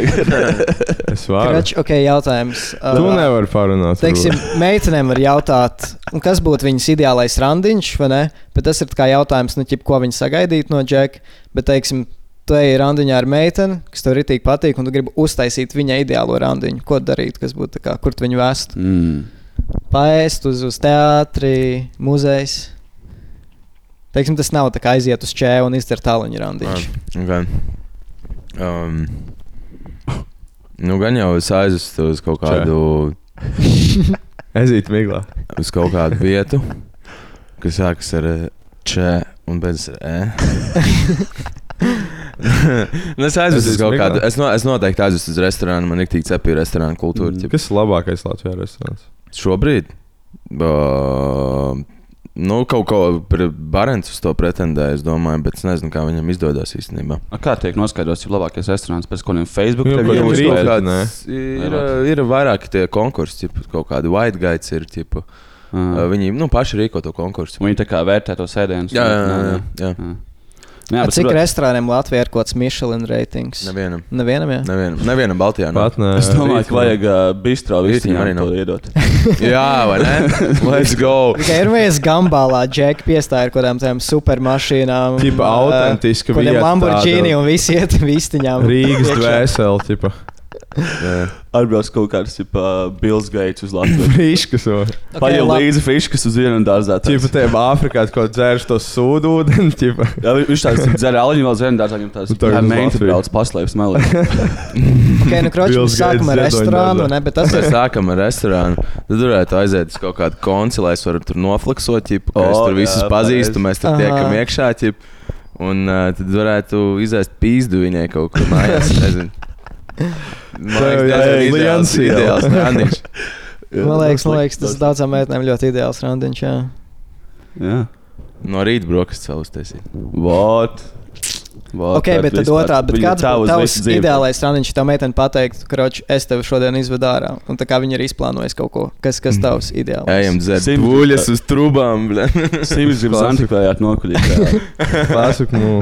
Es varu.
Kroč, ok, jautājums. Uh,
Tu nevari parunāt.
Teiksim, meitenēm var jautāt, un kas būtu viņas ideālais randiņš, vai ne? Bet tas ir tā kā jautājums, nu, ķip, ko viņi sagaidītu no džeka. Bet, teiksim, tu ej randiņā ar meiteni, kas tev ritīgi patīk, un tu gribi uztaisīt viņa ideālo randiņu. Ko darīt, kas būtu tā kā, kur tu viņu vēst?
Mm.
Paēst uz, uz teātri, muzejs. Teiksim, tas nav tā kā aiziet uz čēlu un izdarīt tāluņu randiņu.
Okay. Ah, Um, nu, gan jau es aizvestu uz kaut
Čē.
kādu.
Ezīt miglā.
uz kaut kādu vietu, kas sākas ar eh, č un bez e. Nu, es aizvedu uz kaut kādu. Es, no, es noteikti aizvedu uz restorānu. Man ir tik cepīga restorāna kultūra. Mm.
Kas ir labākais Latvijas restorāns?
Šobrīd. Uh, Nu, kaut ko Barents uz to pretendēja, es domāju, bet es nezinu, kā viņam izdodas īstenībā.
Kā tiek noskaidrots, ir labākais restorāns pēc kādiem Facebook
Jā,
tev
bet
jau
viņam
ir,
rīt,
uzskaidro?
kāds, ir, eh, ir vairāki tie konkursi, tipu, kaut kādi white guides ir. Tipu,
Ah.
mm. Viņi nu, paši rīko to konkursu.
Viņi tā kā vērtē to sēdiņu.
Jā, jā, jā. jā.
Ah. jā
A
bet
Cik
saprot,
restorāniem Latvijā ir kaut kāds Michelin ratings?
Nevienam.
Nevienam, jā.
Nevienam, nevienam Baltijā. nav.
Pat nē.
Es domāju, ka vajag uh, bistro
Rītdienam
visiem
arī
arī
nav.
to iedot.
Jā, vai ne? Let's go!
Tikai ir viens gambālā džeka piestāja ar kaut kādām tādām supermašīnām.
Tipa autentiska
Kuriem
vieta
Lamborghini
tāda.
un visi iet vistiņām.
Rīgas dvēseli, tipa.
Jā.
Atbrauc kaut kāds uh, Bills Gates uz Latviju.
Brīškas.
Ok,
Paņem
labi.
līdzi fiskas uz vienu dārzā.
Tipa,
tāds.
tev Āfrikā kaut dzērš to sūdūdeni, tipa.
Jā, vi- viņš tāds dzēra aliņu vēl zem dārzā, viņam tāds
Un tagad
tā
uz
meita
Latviju.
brauc paslēpts melē.
Ok, nu kroči,
Bills
mēs sākam ar
Gates
restorānu,
ziedoņdārzā.
ne, bet tas
Mēs
ir.
sākam ar restorānu. Tad varētu aiziet uz kaut kādu konci, lai es varu tur noflaksot. Ķip, oh, es
O,
tur visus
jā,
pazīstu,
pareizi.
mēs tur
Aha.
tiekam iekšā. Ķip, un uh, tad varētu izaist pīzdu viņai kaut kur mājās. Nezinu. Man
Tev
liekas, tas
jāiet
ir ideāls,
Liansī.
ideāls randiņš.
Man liekas, man liekas, tas daudzām meitenēm ļoti ideāls randiņš. Jā.
Jā.
No rīta brokastis vēl uztaisīt.
Vot. Vot,
Ok, bet tad otrā, bet kāds būtu tavs ideālais randiņš, ja tā meitene pateiktu, kroči, es tevi šodien izvedu ārā, un tā kā viņa ir izplānojusi kaut ko, kas, kas
Mhm.
tavs ideāls?
Ejam dzert
Simt-
buļļas uz trubām.
Sīvis grib
Klasika.
antikvējāt nokuļīt.
Klasiku, nu.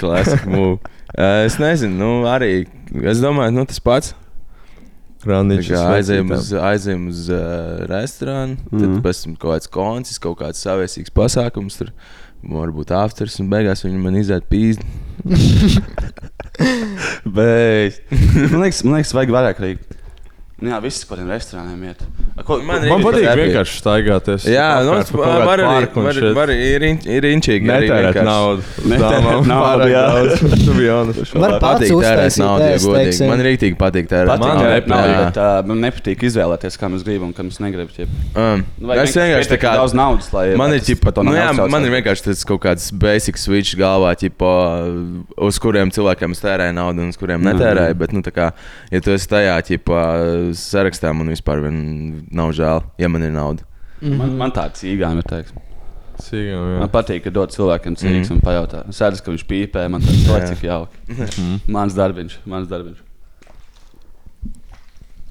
Klasika mūka. Es nezinu, nu arī. Es domāju, nu tas pats. Tā
Randiņš.
kā Aizejām uz, aizejam uz uh, restorānu, tad mm
Mhm.
-hmm. pēc tam kaut kāds koncis, kaut kāds savēsīgs pasākums. Tur. Varbūt afters, un beigās viņi man izdeva pīzi.
Beidz. Man liekas, man liekas, vajag vairāk arī. Nu Jā, viss, kuriem restorāniem iet.
Man,
Man patīk vienkārši staigāties.
Jā, nu,
apkārt pa kaut kādu
var arī,
parku un
var,
shit.
var, ir, riņ- ir inčīgi. arī
Netērēt
vienkārši.
naudu.
Netērēt
Dāmām
naudu,
pārāk
jā.
daudz, to be honest.
Man
Man
pats
patīk tērēt
uztaisīt
naudu, ja
ēst,
godīgi.
teiksim.
Man rītīgi patīk tērēt
Patīk,
Man
man,
naudu.
nepārāk
nav,
jā.
bet, uh, man nepatīk izvēlēties, kā mēs gribam, kā mēs negribam. Ķip.
Um, Es vienkārši tā kā.
daudz naudas, lai
Man
lai
ir,
tas
ķipa,
to
nu, jā,
neatsaucētu.
man ir vienkārši tas kaut kāds basic switch galvā, ķipa, uz kuriem cilvēkiem es tērēju naudu un uz kuriem netērēju. Bet, nu, tā kā, ja tu esi tajā ķipa, sarakstā, man vispār vien nav žēl, ja man ir nauda.
Man, man tā cīgām ir teiks.
Cīgām, jā.
Man patīk, ka dod cilvēkam
Mhm.
cīgas mm. un pajautā. Es redzu, ka viņš pīpē, man tas ir cik jauki.
Mhm.
mans darbiņš, mans darbiņš.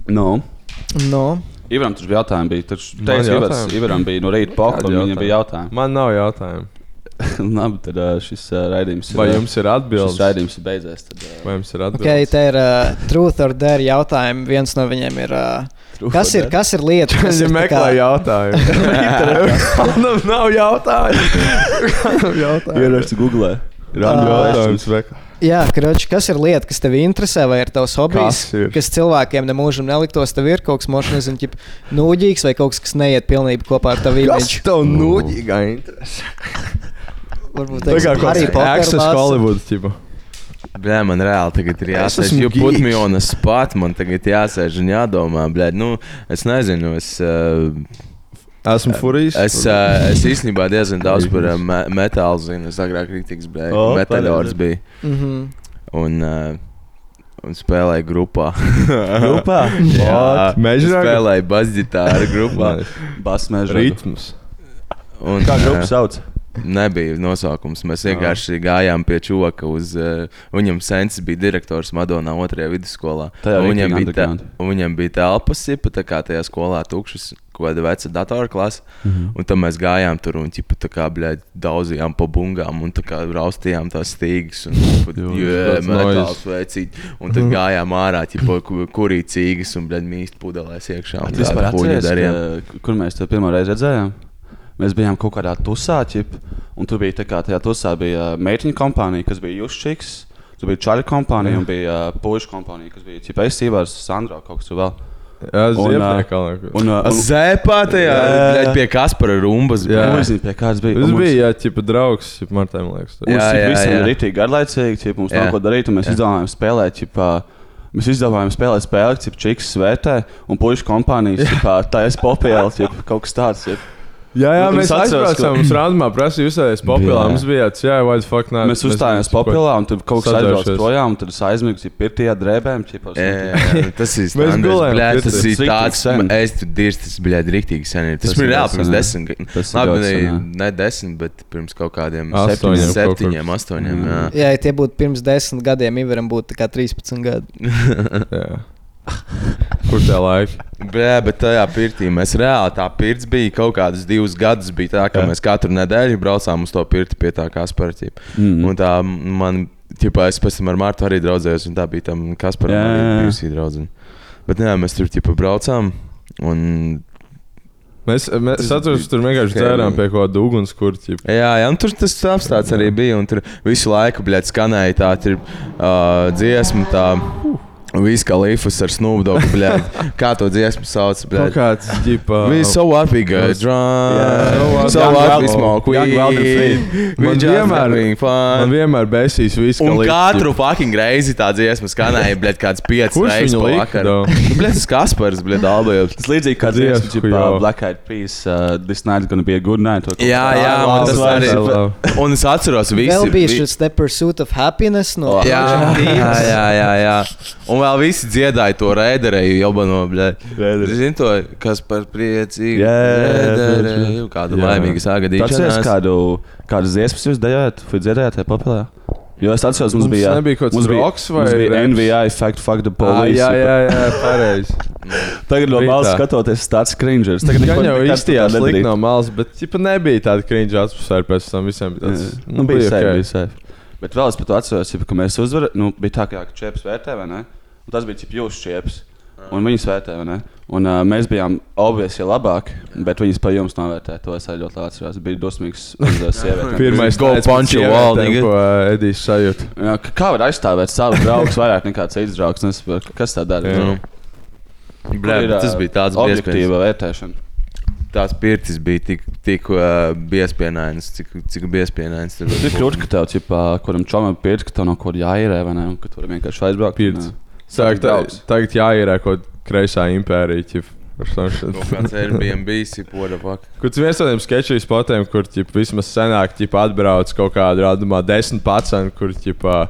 Nu,
Nu,
Ivaram taču bija jautājumi. Bija, taču,
Man
teicu, Ivars,
jautājumi?
Ivaram bija no rīta poka,
Kādi
un viņam bija jautājumi.
Man nav jautājumu.
Labi, tad ā, šis ā, raidījums
Vai
ā,
jums ir
šis
atbildes?
raidījums ir beidzies. Tad, ā,
Vai jums ir atbildes?
okay, te ir uh, truth or dare jautājumi. Viens no viņiem ir. Uh, kas, ir kas ir lieta? Kas
Viņi
ir tā
meklē
kā-
jautājumu. Kādam nav jautājumu. Kādam jautājumu. Ah.
Ieraksti Google.
Ir jautājums. vek-
Jā, kroči, kas ir lieta, kas tev interesē, vai ir tavs hobijs,
Kas ir?
kas cilvēkiem nemūžam neliktos? Tev ir kaut kas, moši, nezinu, ķip, nūģīgs vai kaut kas, kas neiet pilnībā kopā ar tavu
Kas
imidžu.
tev noģīgā interese?
Varbūt
Tā kā
arī
kāds Access
Potter.
Hollywood, tipa.
Blē, man reāli tagad ir
Es
jāsēž.
esmu
Jo put me
geeks.
on a spot, man tagad jāsēž un jādomā. Blē, nu, es nezinu, es. Uh,
Esmu furijs.
Es, uh, es īstenībā diezgan daudz par uh, me metālu zinu. Es agrāk kritikas biju.
O,
Oh, Metālors
pareizi.
bija.
Mhm.
Un, uh, un spēlēju grupā.
Grupā?
Jā,
What? Mežraga?
Spēlēju basģitāru grupā.
Basmēža.
Ritms.
Un,
Kā grupa
uh,
sauc?
nebija nosaukums. Mēs vienkārši gājām pie čūka. Uh, viņam sensis bija direktors Madonā otrajā vidusskolā.
Tajā
Un Viņam
rītīgi
bija, tā,
underground.
un viņam bija telpas, ja tā kā tajā skolā tukšas. Kaut kāda veca datora klase. Mm
Mhm.
-hmm. Un tad mēs gājām tur un ķipa, tā kā blēdi, daudzījām pa bungām un tā kā raustījām tās stīgas. Un ķipa,
tas
yeah, metāls
noises.
veicīt. Un
Mhm.
tad gājām ārā, ķipa, ku- kurī cīgas un blēdi mīst pudelēs iekšā. Un
Tu vispār
tādu puņu
atceries,
darījām.
ka- Kur mēs te pirmo reizi redzējām? Mēs bijām kaut kādā tusā, ķip, un tur bija tā kā tajā tusā bija ā, meitiņu kompānija, kas bija Jusčiks, tur bija Čāļa kompānija un bija pušu kompānija, kas bija Čipa Esīvārs, Sandro kaut kas tur vēl.
Jā,
Un, ā,
Ziepniekā. liekas.
Un, ā, un,
Zēpā tajā
Jā.
blēdi, pie Kaspara rumbas.
Jā.
blēdi.
un, nezinu, pie kāds bija.
Tas
un mums-
bija, jā, tipa draugs, tipa Martēm, liekas. tā.
Jā,
Mums
jā,
ir visiem
jā.
ir rītīgi garlaicīgi, ja mums
Jā.
nav ko darīt, un mēs izdomājām spēlēt. Ķipā, Mēs izdevām spēlēt spēli, cik čiks svētē, un puikas kompānijas uh, ķipā, tā ir popēle, ja kaut kas tāds. Ķip.
Jā, jā
Nu,
mēs
es atceros, ka-
aizbraucām, mums randumā prasīja uzstāties popilā,
Jā.
mums bija tāds, jā, why the fuck not.
Mēs uzstājāmies
nezinu, ko-
popēlā, un tur kaut kas aizbrauca
Sadraušies.
projām, un tad es aizmigu, ja pirtajā drēbēm, ķipā, uz-
Ē, Tas ir standarts,
gulējam
blēd, tas
pirtī.
ir tāds,
Riktīgi sen.
es tur dirstu, tas bija rīktīgi sen. ir. Tas
Tas
bija
ir
reāli
sen,
pirms
jā.
desmit gadiem.
Tas ir
Labi,
ļoti
ne,
sen, jā.
ne desmit, bet pirms kaut kādiem
Astoņiem
septiņiem,
kaut kur.
septiņiem, astoņiem. Jā.
Jā, ja tie būtu pirms desmit gadiem, Ivaram būtu tā kā 13 gadi.
Jā. Kur tā laika?
Bē, bet tajā pirtī mēs reāli tā pirts bija kaut kādus divus gadus. Bija tā, ka jā. mēs katru nedēļu braucām uz to pirti pie tā kā spēļķiem. Mm. Un tā man, tipā, es pēc tam ar Mārtu arī draudzējos, un tā bija tam Kasparam
Jā, jā, jā.
arī bijusī draudzene. Bet jā, mēs tur, tipā, braucām. Un
Mēs, eh, mēs es atceros, ka tur vienkārši
Heavy.
dzērām pie kaut kāda ugunskurta. tipa.
Jā, jā, un tur tas apstāsts arī bija. un Tur visu laiku blēd, skanēja tā tur, uh, dziesma. Tā. Viss kā līfus ar snūbuļsaktu, blēdi. Kā to dziesmu sauc?
Kaut
blēdi?
kāds, tipa.
We so what we got
Yeah.
drunk, so
Young
what we
Wild-
smoke
Young Wild and
weed.
Free.
We
Man
just
vienmēr-
having
Man
fun.
vienmēr besīs viss,
Un katru fucking reizi tā dziesma skanēja, blēd, kāds piecas
Kurš
reizes
viņu
pa
lika,
vakaru.
though?
Nu, Blēd, tas Kaspars, blēd, albējot.
Tas līdzīgi kā
Dievs,
dziesma,
ku
ķipā,
jau.
Black Eyed Peas, uh, This Night's Gonna Be a Good Night. vai kaut
Jā,
kā tā.
jā, man
love,
tas
I
arī.
love.
Un es atceros visi.
Vēl bija
vi-
šis The Pursuit of Happiness nu, no
Oh,
Jā, jā, jā, jā, jā. Un vēl visi dziedāja to rēderēju, jau no blēdas. Zinu to, kas par priecīgu.
Jā, jā, jā,
rēderēju, kādu
Jā.
laimīgu sāgadīju.
Tāds ir kādu, kādas dziesmas jūs dejojat, vai dzirdējāt, vai papildinājāt? Jo es atceros, mums
Mums
bija.
nebija kaut kāds
mums bija-
rocks vai
Mums bija
raps?
NVI, Fact, Fuck the
Ah,
Police.
jā, jā, jā, pareizi.
Tagad no
Rītā.
malas skatoties, tas tāds cringeris. Tagad
Gan jau īstajā slikti no
sliknām.
malas, bet tipa nebija tāda cringe atmosfēra pēc tam visiem. bija Tāds,
Nu, bija
ok.
sēdi, bija sēdi. Bet vēl es pat atceros, ja, ka mēs uzvarējām, nu, bija tā, kā, ka čēps vērtē, vai ne? Un tas bija ķip jūsu čēps. Un viņas vērtē, vai ne? Un uh, mēs bijām objektīvi labāki, bet viņas pa jums novērtēja. To es arī ļoti labi atceros. Bija dosmīgs uz uh, sievietēm.
Pirmais
Go
tāds
punch a
pēc
wall,
sievietēm,
nigga.
ko ā, Edijs sajūta.
Nu, Jā, k- Kā var aizstāvēt savu draugu vairāk nekā citas draugs? Nesaprotu, Kas tā dara?
Jā.
Blē,
Nu, Ir,
bet Nu. tas
ā,
bija tāds briesmīgs.
objektīva vērtēšana.
Tās pirtis bija tik, tik uh, briesmīgs, cik, cik briesmīgs tas
Tas ir
bija.
grūti, ka tev jau kādam čomam pierādījis, ka tev no kaut kā jāierē, vai ne? Un ka tu vari vienkārši aizbraukt.
Pirts.
un,
Sāk, tā,
Daudz.
tagad jāierēko kreisā impērija. ķip, or something.
Kaut kāds Airbnb, what the fuck.
Kur tas viens no tiem sketčiem spotiem, kur ķip, vismaz senāk ķip, atbrauc kaut kādā radumā, desmit pacēnu, kur ķip, ā,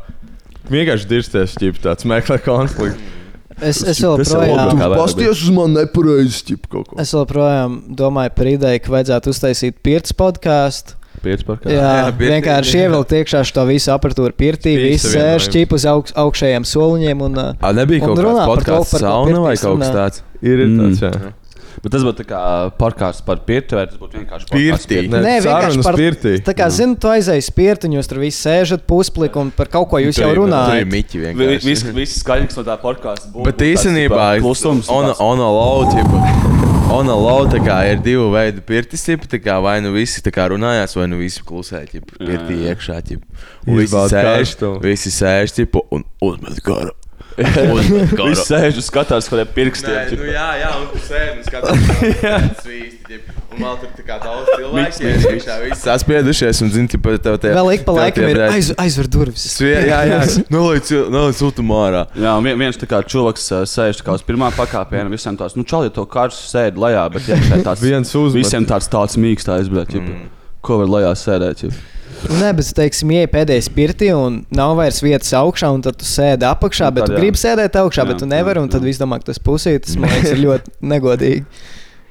vienkārši dirsties, ķip, tāds meklē konfliktu.
Es,
Tas
es
ir
joprojām.
labi. Tu pasties
uz mani nepareizi, ķip, kaut
Es joprojām domāju par ideju, ka vajadzētu uztaisīt pirts podkāstu.
ā, Pirts par kādu.
Jā,
Jā, pirtī.
vienkārši ievilkt iekšā šo visu apatūru pirtī,
Visu
visu sēž
vienlaicīgi.
čip uz augš, augšējiem soliņiem. Un, uh,
A, nebija
Un
kaut kāda
runā par to,
podkāstu
par ko
sauna vai
pirtīs
kaut kas
runā.
tāds.
Ir, ir tāds, jā.
Bet tas būtu tā kā parkārs par pirti, vai tas būtu vienkārši podcasts
Pirtī.
pirti?
Ne,
Nē, vienkārši
sarunas
par
pirtī.
Tā kā zinu, tu aizēji spirti, un jūs tur visi sēžat puslīgi, un par kaut ko jūs jau
Tur ir
runājat.
miķi
Vi-
vienkārši.
Viss viss skaļākais no tā podkāsta būtu.
Bet īstenībā
klusums.
on- on a low, tipa, on a low, tā kā ir divi veidi pirtis, tipa, tā kā vai nu visi tā kā runājās, vai nu visi klusē, tipa, pirtī iekšā, tipa. Un visi
Izbaudi
sēž,
karstumu.
visi sēž, tipa, un uzmet garu. Uzmet garu.
Viņš sēž un skatās, kuriem pirkstiem.
Oh Nē, nu,
ķipa.
jā, jā, un tu sēdi un skaties, svīsti, un vēl tur tā kā daudz cilvēku. iet iekšā, visi Saspiedušies un zini, pat tev te.
Vēl ik pa
tev tie
laikam ir
brēķi-
aiz, aizver durvis.
Svie, jā, jā,
Nu,
nolaic, nolaic ultumā ārā.
Jā, un vien- viens tā kā cilvēks ā, sēž tā kā uz pirmā pakāpiena, visiem tāds, nu, čau, ja to kārs sēdi lejā, bet iekšā tāds
Viens uzmet.
Visiem tāds tāds mīksts aizbraukt. Mm. Ko var lejā sēdēt? Ķip?
Nē, bet, teiksim, ieej pēdējais pirtī, un nav vairs vietas augšā, un tad tu sēdi apakšā, bet
tad
tu
jā.
gribi sēdēt augšā,
Jā,
bet tu
jā,
nevari, un tad
jā.
viss domā, ka tas pusītis, man liekas, ir ļoti negodīgi.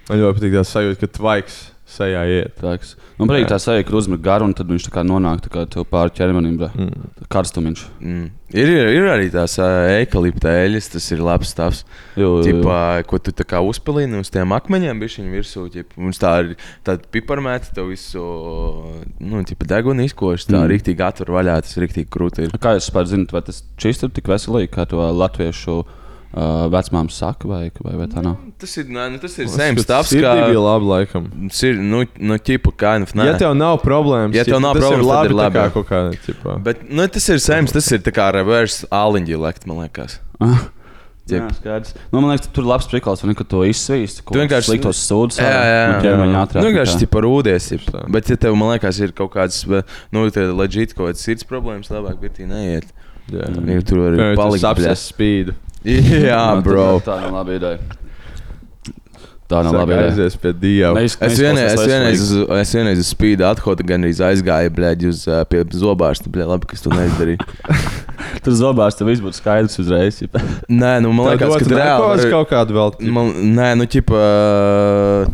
Man ļoti patīk tā sajūta, ka tvaiks sejā iet.
Traks. Man patīk tā sajūta, ka uzmet garu un tad viņš tā kā nonāk tā kā tev pāri ķermenim. Mm. Karstumiņš.
Mm. Ir, ir, ir arī tās ā, eikalipta eļļas, tas ir labs stāvs.
Jū,
Tipā, ko tu tā kā uzpelīni uz tiem akmeņiem, bija viņa virsū. Ģip, mums tā ir tāda piparmēta, tev visu nu, tipa, degunu izkoši. Tā
Mm.
mm. rīktīgi atver vaļā, tas rīktīgi krūti ir.
Kā jūs vispār zinat, vai tas čist ir tik veselīgi, kā to latviešu uh, vecmām saka, vai, vai, vai tā nav?
Tas ir, nē, nu, tas ir
Ka
zemes stāvs.
sirdī
kā-
bija labi laikam.
Sir, nu, nu, ķipa, kind of, nē.
Ja tev nav problēmas,
Ja tev
ķip,
nav
tas
problēmas, tad ir
ir labi. tā
labi.
kā kaut kāda, ķip,
Bet nu, tas ir sēms, tas ir tā kā reverse aliņģi lekt, man liekas. Jep.
Jā, skaidrs. Nu, man liekas, tur ir labs priklājs, ka tu izsvīsti.
Tu vienkārši-
sliktos sūdzes.
Nu,
ķermeņa atrādi.
vienkārši tipā rūdies. jeb.
Tā.
Bet, ja tev, man liekas, ir kaut kādas, vē- nu, tā leģit kaut kādas sirds problēmas, labāk pirtī neiet.
jā.
Jo tur
Palikt
var palikt
apsies spīdu.
bļa. Jā, bro.
Tā nav laba ideja. Tā nav
Sāk
laba ideja.
aizies pie dieva.
Neiz-
Es
neizklausās
vienreiz, es vienreiz,
veselīgi.
uz, es vienreiz uz spīdu atkotu, gan arī aizgāju, blēģi, uz ā, pie zobārsta, blēģi, labi, kas to neizdarīja.
Tur zobās, tev viss būtu skaidrs uzreiz. ja.
Nē, nu, man
Tā dod
liekas, ka
narkozi
reāli. var-
kaut kādu vēl. ķip.
Man, nē, nu, ķipa,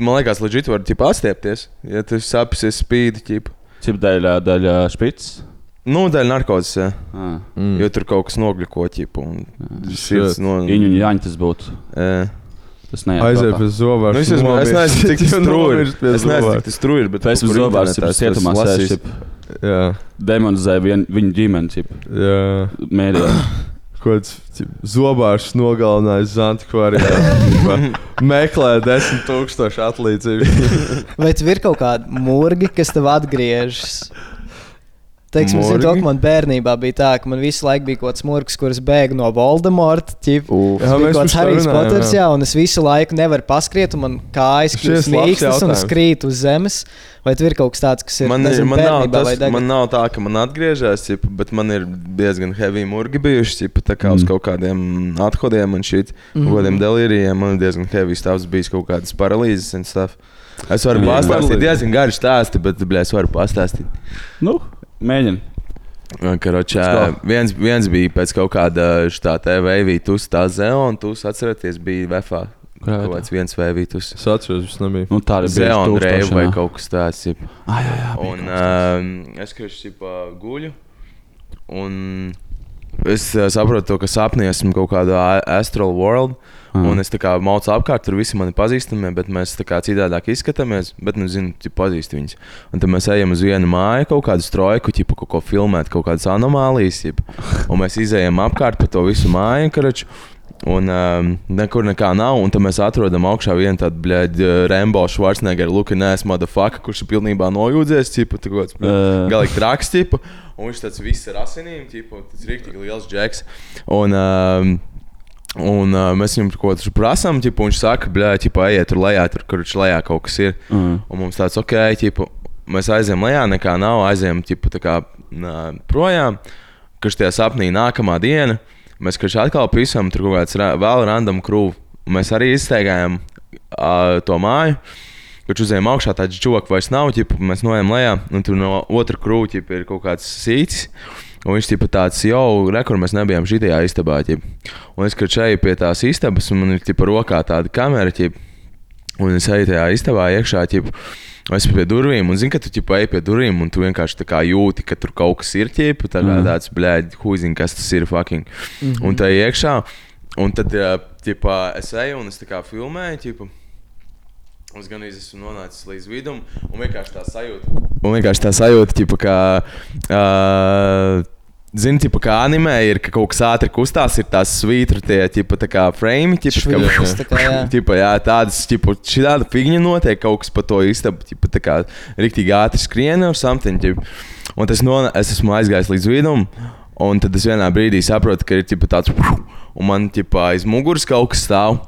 man liekas, leģit var, ķipa, atstiepties, ja tu sapsies spīdu, ķipa.
Cip daļa, daļa špits.
Nu, dēļ narkotikas, jā.
Ah.
Mm.
jo tur kaut kas nogļuko, ķipa, un sirds no...
Viņu un Jāņa tas būtu.
Ē.
Tas nē,
Aiziet pie zobārsta.
Nu, es esmu, es neesmu tik strūri.
nomirst pie
Es neesmu
zobārsta.
tik strūri, bet...
Pēc
kaut
tam
kur
zobārs ir
internetā es to esmu
cietumā
lasījis.
sēž.
Jā,
Demonizē vien, viņu ģimeni, cip,
jā.
mēdījā.
Kāds zobārs nogalināja Zantkvārijā. Meklē 10,000 atlīdzību.
Vai tev ir kaut kāda mūrgi, kas tev atgriežas? Teiksim, zinu, to,
Murgi?
ka man bērnībā bija tā, ka man visu laiku bija kaut kāds mūrgs, kurš bēga no Voldemorta. ķip.
Uf.
Tas
Jā,
bija
Nu, mēs
kaut kāds
par to
Harijs
runājām,
Poters,
jā.
jā, un es visu laiku nevaru paskriet, un man kājas
Šis labs
kļūst mīkstas un es
jautājums.
krītu uz zemes. Vai tev ir kaut kas tāds, kas ir
Man, ir,
nezinu,
man, nav
bērnībā
tas,
vai tagad?
man nav tā, ka man atgriežas, jip, bet man ir diezgan heavy murgi bijuši. Jip, tā kā mm. uz kaut kādiem atkodiem un šit,
Mm-hmm.
mm. kādiem delīrijiem man ir diezgan heavy stāvs bijis kaut kādas paralīzes un stuff. Es varu
Jā.
pastāstīt, diezgan garš stāsts, bet blē, es varu pastāstīt.
Nu, mēģini.
Karočā,
Let's
viens, viens bija pēc kaut kāda šitā te veivītus, tā zeona, tu atceraties, bija vefā.
Kurā
Kaut
vietā?
kāds viens veivītus.
Es atceros, tas nebija.
Nu, tā ir
Zeona reiba vai kaut kas tāds. Jip.
Ah, jā, jā.
Un uh, es vienkārši guļu. Un es uh, saprotu, to, ka sapnī esmu kaut kādā a- astral world. Mm. Un es tā kā maucu apkārt, tur visi mani pazīstamie, bet mēs tā kā citādāk izskatāmies. Bet, nu, zinu, tu pazīsti viņus. Un tad mēs ejam uz vienu māju, kaut kādu strojku, ķipa, kaut ko filmēt, kaut kādas anomālijas. Jip. Un mēs izējām apkārt pa to visu māju, karaču. Un um, nekur nekā nav, un tad mēs atrodam augšā vienu tādu, eh, blēģ, Rembo Schwarzeneggeru, Lukas, nēs, motherfucker, kurš ir pilnībā nojūdzies, tipa, tā kāds,
Ē.
galīgi traks, tipa, un viņš tāds viss ar asinīm, tipa, tas ir rīktīgi liels džeks. Un, um, Un uh, mēs viņam kaut ko prasām, un viņš saka, blē, ķipa, ejiet tur lejā, tur kur viņš lejā kaut kas ir. Mm. Un mums tāds, ok, ķipa, mēs aizējām lejā, nekā nav, aizējām ķipa, tā kā, nā, projām. Kurš tajā sapnī nākamā diena, mēs kurš atkal pisam, tur kaut kāds ra- vēl random krūve. Mēs arī izteigājām uh, to māju. Kad uzējām augšā, tāds joks vairs nav, ķipa, mēs noejam lejā, un tur no otras krūve ir kaut kāds sīcis. Un viņš tipa tāds, jau rekur, mēs bijām šajā istabā. Ķip. Un es skrēju pie tās istabas, un man ir tipa rokā tāda kamera, ķip, un es eju tajā istabā iekšā. Ķip, Es biju pie durvīm, un zinu, ka tu tikai eji pie durvīm, un tu vienkārši tā kā jūti, ka tur kaut kas ir ķēpis. Tā
Mhm.
kā tāds, blēdi, huizīgi, kas tas ir, fucking. Mm -hmm. Un tā iekšā, un tad, ā, tipā, es eju un es tā kā filmēju, tipā. Es gan esmu nonācis līdz vidum, un vienkārši tā sajūta. Un vienkārši tā sajūta, tipa, ka. Uh, Zini, tipa, kā animē ir, ka kaut kas ātri kustās, ir tās svītra, tie tipa, tā kā frame, tipa, ka,
Šviļņas, tā kā, jā.
tipa, jā, tādas, tipa, šī tāda figņa notiek, kaut kas pa to istabu, tipa, tā kā riktīgi ātri skriena or something, tipa. Un tas non, es esmu aizgājis līdz vidum, un tad es vienā brīdī saprotu, ka ir, tipa, tāds, un man, tipa, aiz muguras kaut kas stāv.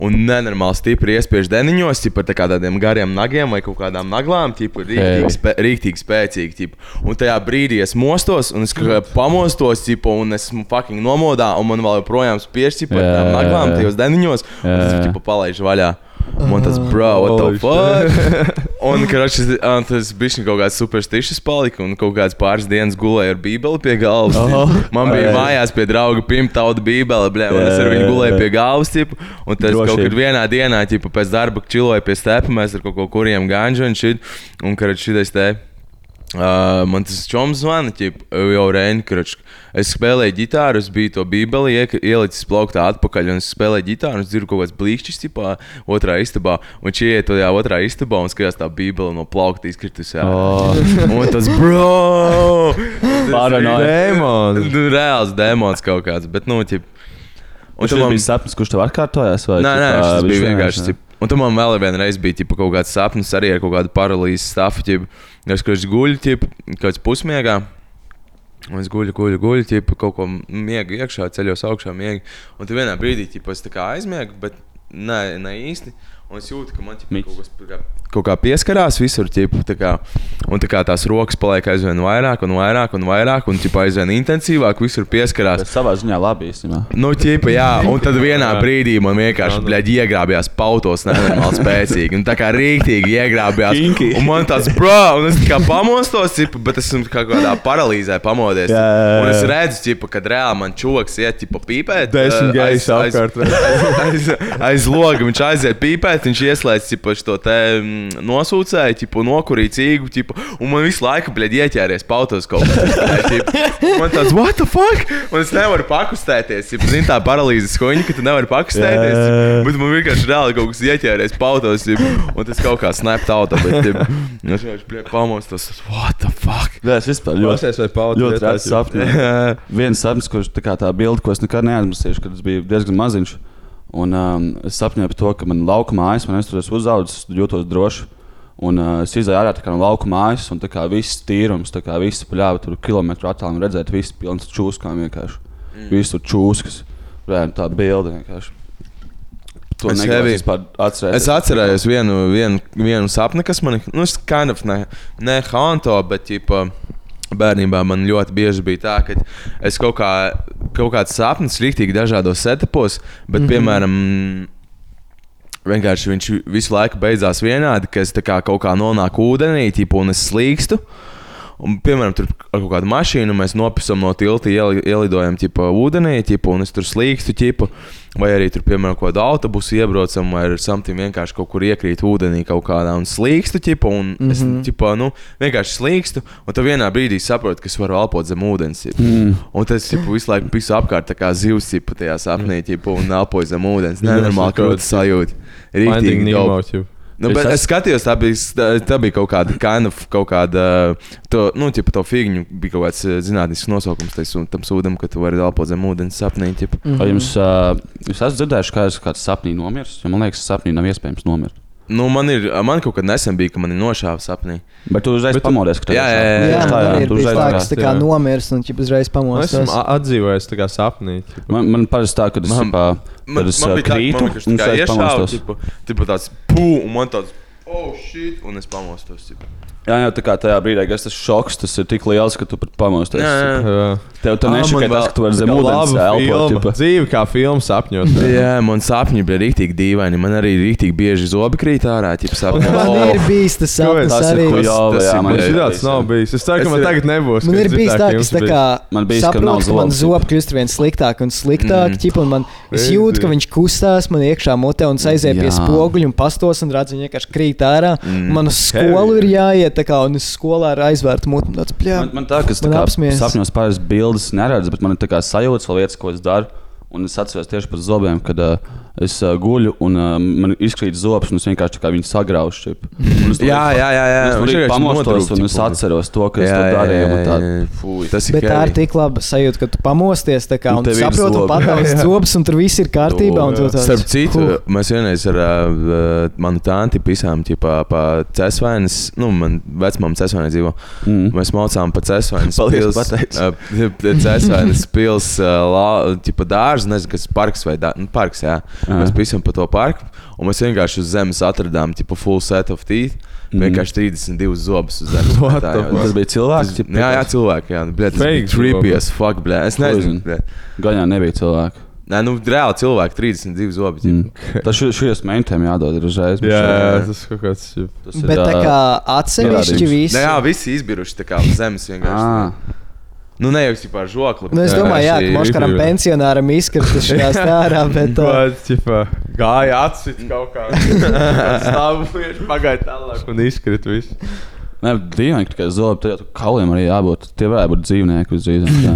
Un nenormāli stipri iespiež deniņos, jau tā kā tādiem gariem nagiem vai kaut kādām naglām, tipā rīktīgi, spē, rīktīgi spēcīgi. Tipa. Un tajā brīdī es mostos, un es kā pamostos, tipa, un esmu fucking nomodā, un man vēl joprojām spiež tipa, ar
Jā,
tām
jā,
naglām,
jā.
tajos deniņos, un tas
Jā.
tipa, palaiž vaļā. Un Man tas, bro, what the fuck? Un, karoči, tas bija kaut kāds superstišs palika, un kaut kāds pāris dienas gulēja ar bībeli pie galvas.
Oho.
tipa. Man bija
Ai.
mājās pie drauga pimtauda bībele, blē, un es ar
Jā, jā,
viņu
jā.
gulēju pie galvas, tipa, un tas
Drošība.
kaut kad vienā dienā, tipa, pēc darba čiloja pie stepa, mēs ar kaut ko kuriem ganžu un šit, un kad šitais te. Uh, man tas čoms zvana, ķip, jau rēnkračs. Es spēlēju ģitāru, es biju to bībeli, iek- ielicis plauktā atpakaļ, un es spēlēju ģitāru, un es dzirdu kaut kāds blīkšķis, tipā, otrā istabā, un šī iet tajā otrā istabā, un skatās tā bībeli no plaukta izkritus. Oh. Un tas, bro!
Paranoja.
Dēmons! Reāls dēmons kaut kāds, bet, nu, ķip.
Un tas bija sapnis, kurš tev atkārtojās? Vai,
Nē, nē,
tipā,
tas
viņš
bija vienkārši.
vienkārši-
Cip, un tam man vēl vienreiz bija tipa, kaut kāds sapnis arī ar kaut kādu paralīzes stāstu. ķip. Es kaut kā guļu, tipa, kaut kāds pusmiegā. Un es guļu, guļu, guļu, tipa, kaut ko miegu iekšā, ceļos augšā, miegu. Un tad vienā brīdī tipa, es tā kā aizmiegu, bet ne, ne īsti. Un es jūtu, ka man ķipa,
Miks.
kaut kas tā kā- kaut kā pieskarās visur. Ķipa, tā kā, un tā kā tās rokas paliek aizvien vairāk un vairāk un vairāk, un ķipa, aizvien intensīvāk visur pieskarās.
Tas savā ziņā labi īstenībā.
Nu, ķipa, jā, un tad vienā brīdī man vienkārši bļaģi, iegrābjās pautos, nenormāli spēcīgi. Un tā kā rīktīgi iegrābjās.
Kinki.
Un man tāds, bro, un es tā kā pamostos, ķipa, bet esmu kā kādā paralīzē pamodies.
Jā, jā, jā.
Un es redzu, ķipa, kad reāli man čoks iet, ķipa, pīpēt.
Desmit
eh, aiz-
gaišs
aiz-
apkārt.
aiz, aiz loga. Viņš aiziet pīpēt, viņš ieslēdz ķipa, šo te mm, nosūcēju, ķipa, nokurīja cīgu, ķipa, un man visu laiku, bļaģi, ieķēries pautos kaut kas. ķipa. Man tāds, what the fuck? Un es nevaru pakustēties. ķipa, Zini, tā paralīzes huņa, ka tu nevari pakustēties. ķipa, Bet man vienkārši reāli kaut kas ieķēries pautos, ķipa, un tas kaut kā snapt auto. Bet, ķipa, es vienkārši pamostos, what the fuck?
Jā, es vispār ļoti
Klausies, vai pauta
Ļoti
vietā,
rēts sapnis. Viens sapnis, kurš tā kā tā bilde, ko es nekad neaizmirsīšu, kad es biju diezgan maziņš. Un um, es sapņoju par to, ka man lauka mājas, man es tur esmu uzaugusi, jūtos droši. Un uh, es izēju ārā tā kā no lauka mājas, un tā kā viss tīrums, tā kā viss pļāva tur kilometru attālumā, redzēt, viss pilns ar čūskām vienkārši. Mm. Viss tur čūskas, redzēt, tā bilde vienkārši. To
Es
negribas
heavy.
vispār
Es
atcerēties.
atcerējos vienu, vienu, vienu sapni, kas man ir. Nu, es kind of ne, ne hanto, bet ķipa, bērnībā man ļoti bieži bija tā, ka es kaut, kā, kaut kāds sapnis rīktīgi dažādos setupos, bet, mm -hmm. piemēram, Vienkārši viņš visu laiku beidzās vienādi, ka es tā kā kaut kā nonāku ūdenī, tipā, un es slīkstu. Un, piemēram, tur ar kaut kādu mašīnu mēs nopisam no tilta, ieli- ielidojam tipā ūdenī, tipā, un es tur slīkstu, tipā. Vai arī tur, piemēram, kaut kādu autobusu iebraucam, vai ar samtim vienkārši kaut kur iekrīt ūdenī kaut kādā un slīkstu, tipā, un mm -hmm. es tipā, nu, vienkārši slīkstu, un tad vienā brīdī saprotu, ka es varu elpot zem ūdens. Mm. Un tas ir visu laiku visu apkārt, tā kā zivs, tipā, tajā sapnī, tipā, un elpoju zem ūdens. Nenormāli, ka tas sajūta.
Finding
Rītīgi, dope.
Nemo, ķip.
Nu,
Es
bet
esmu-
es skatījos, tā bija, s- tā- tā bija kaut kāda kind of, kaut kāda, to, nu, tipa, to figņu, bija kaut kāds eh, zinātnisks nosaukums tais, un tam sūdam, ka tu vari elpot zem ūdens sapnī. Tipa.
Mhm.
Vai jums, uh, jūs esat dzirdējuši, ka kāds sapnī nomiris? Jo Man liekas, sapnī nav iespējams nomirt.
Nu, man, ir, man kaut kad nesen bija, ka man ir nošāva sapnī.
Bet tu uzreiz
Bet tu-
pamodies, ka tev ir
Jā, jā,
sāpes.
jā,
Jā,
jā,
tā, jā,
man ir
tu
bijis
uzreiz
laiks
atrast,
tā kā
jā.
nomirst un ķip uzreiz
Nu,
pamostos.
Esmu a- atdzīvojis tā kā sapnī.
Man, man parasti tā, kad es
Man-
sapā,
Man,
kad es
man
ā,
bija tā,
krītu,
man vienkārši
un
tā kā
tad es
iešāva,
pamostos.
tipu, tipu tāds pū, un man tāds, oh, shit, un es pamostos. Tipu.
Jā, jau tā kā tajā brīdī, kad tas šoks, tas ir tik liels, ka tu pat pamosties.
Jā,
Jā.
Tev
Ā,
tur
Ah, man
nešķiet,
vēl-
ka tu vari zem ūdens
filma.
elpot.
Dzīve kā filma sapņos.
jā. jā, man sapņi bija rīktīgi dīvaini. Man arī rīktīgi bieži zobi krīt ārā, ja sapņi.
Man ir bijis tas sapnis
tas
Tas ir
arī.
kujāva,
tas
jā,
ir
man
Man
Jā,
ir
jā,
šis nav bijis. Es ceru,
Es
ka man
ir-
tagad nebūs.
Man
kad
ir
dzirdēju,
bijis tā, ka
jums
es tā
bija.
kā
Man bijis, ka nav
saprotu, ka man
zobs.
zobi kļūst ar vien sliktāk un sliktāk,
Mm.
ķip, un man, es
Crazy.
jūtu, ka viņš kustās man iekšā mutē un aizēja pie
Jā.
spoguļa un pastos un redz, viņa vienkārši krīt ārā.
Mm.
Mm. Man uz skolu ir jāiet, tā kā, un es skolā ar aizvērtu mutu. un Tāds, pļā,
Man, man tā, ka es tā
Man
kā
apsmies.
sapņos pāris bildes neredzu, bet man ir tā kā sajūta vēl lietas, ko es daru. Un es atceros tieši par zobiem, kad uh, es uh, guļu un uh, man izkrīt zobs, un es vienkārši tā kā viņu sagraušu. čip. Un es tur
Jā,
līdz-
jā, jā, jā.
Es tur
vienkārši
arī pamostos,
notrūkt,
un
tipu.
es atceros to, ka es to darīju. un tā.
Fui. Tas
Bet tā ir tik laba sajūta, ka tu pamosties tā kā,
Un
un
tev ir
saproti,
zobi.
un patausi zobus, un tur viss ir kārtībā. un tu tāds,
eh, Starp citu,
huh.
mēs vienreiz ar uh, manu tanti pisām ķipā pa cesvainas, nu, man vecmām cesvainas dzīvo.
Mm.
Mēs maucām pa cesvainas
Paldies,
pils.
pateic.
uh, Cesvainas pils, uh, la- ķipa dārza, nezinu, kas parks vai dārza, nu, parks, jā.
Jā.
Mēs pisām pa to parku, un mēs vienkārši uz zemes atradām, ķipa, full set of teeth. Vienkārši 32 zobus uz zemes.
What
Tā
the
jau-
fuck?
Tas bija cilvēks,
Tas- Jā, jā, cilvēki, jā. Bļet, tas bija
Fake
trippy
zobi.
as fuck, bļet. Es
Poison.
nezinu, bļet.
Gaļā nebija cilvēku.
Nē, nu, reāli cilvēki 32 zobi.
Mhm.
ķipa.
Tas šu- šajos mentiem jādod ir uzreiz.
Jā, jā,
bet
tas kaut kāds.
šeit tas ir,
Bet tā
ā,
kā atsevišķi
pierādījums.
visi.
Ne, Nu jā, visi izbiruši tā kā uz zemes vienkārši.
ā,
Nu, ne jau kā ar žokli.
Nu, es domāju, jā, ka Moškaram
brīvība.
pensionāram izkrita šajā stārā, bet uh,
Tāds, tipā, gāja atsit kaut kā. Stāvu, pagāja tālāk un izkrita viss.
Nē, dīvaini, ka tikai zobi, tad jau tur kauliem arī jābūt. Tie varētu būt dzīvnieki visdrīzāk. jā.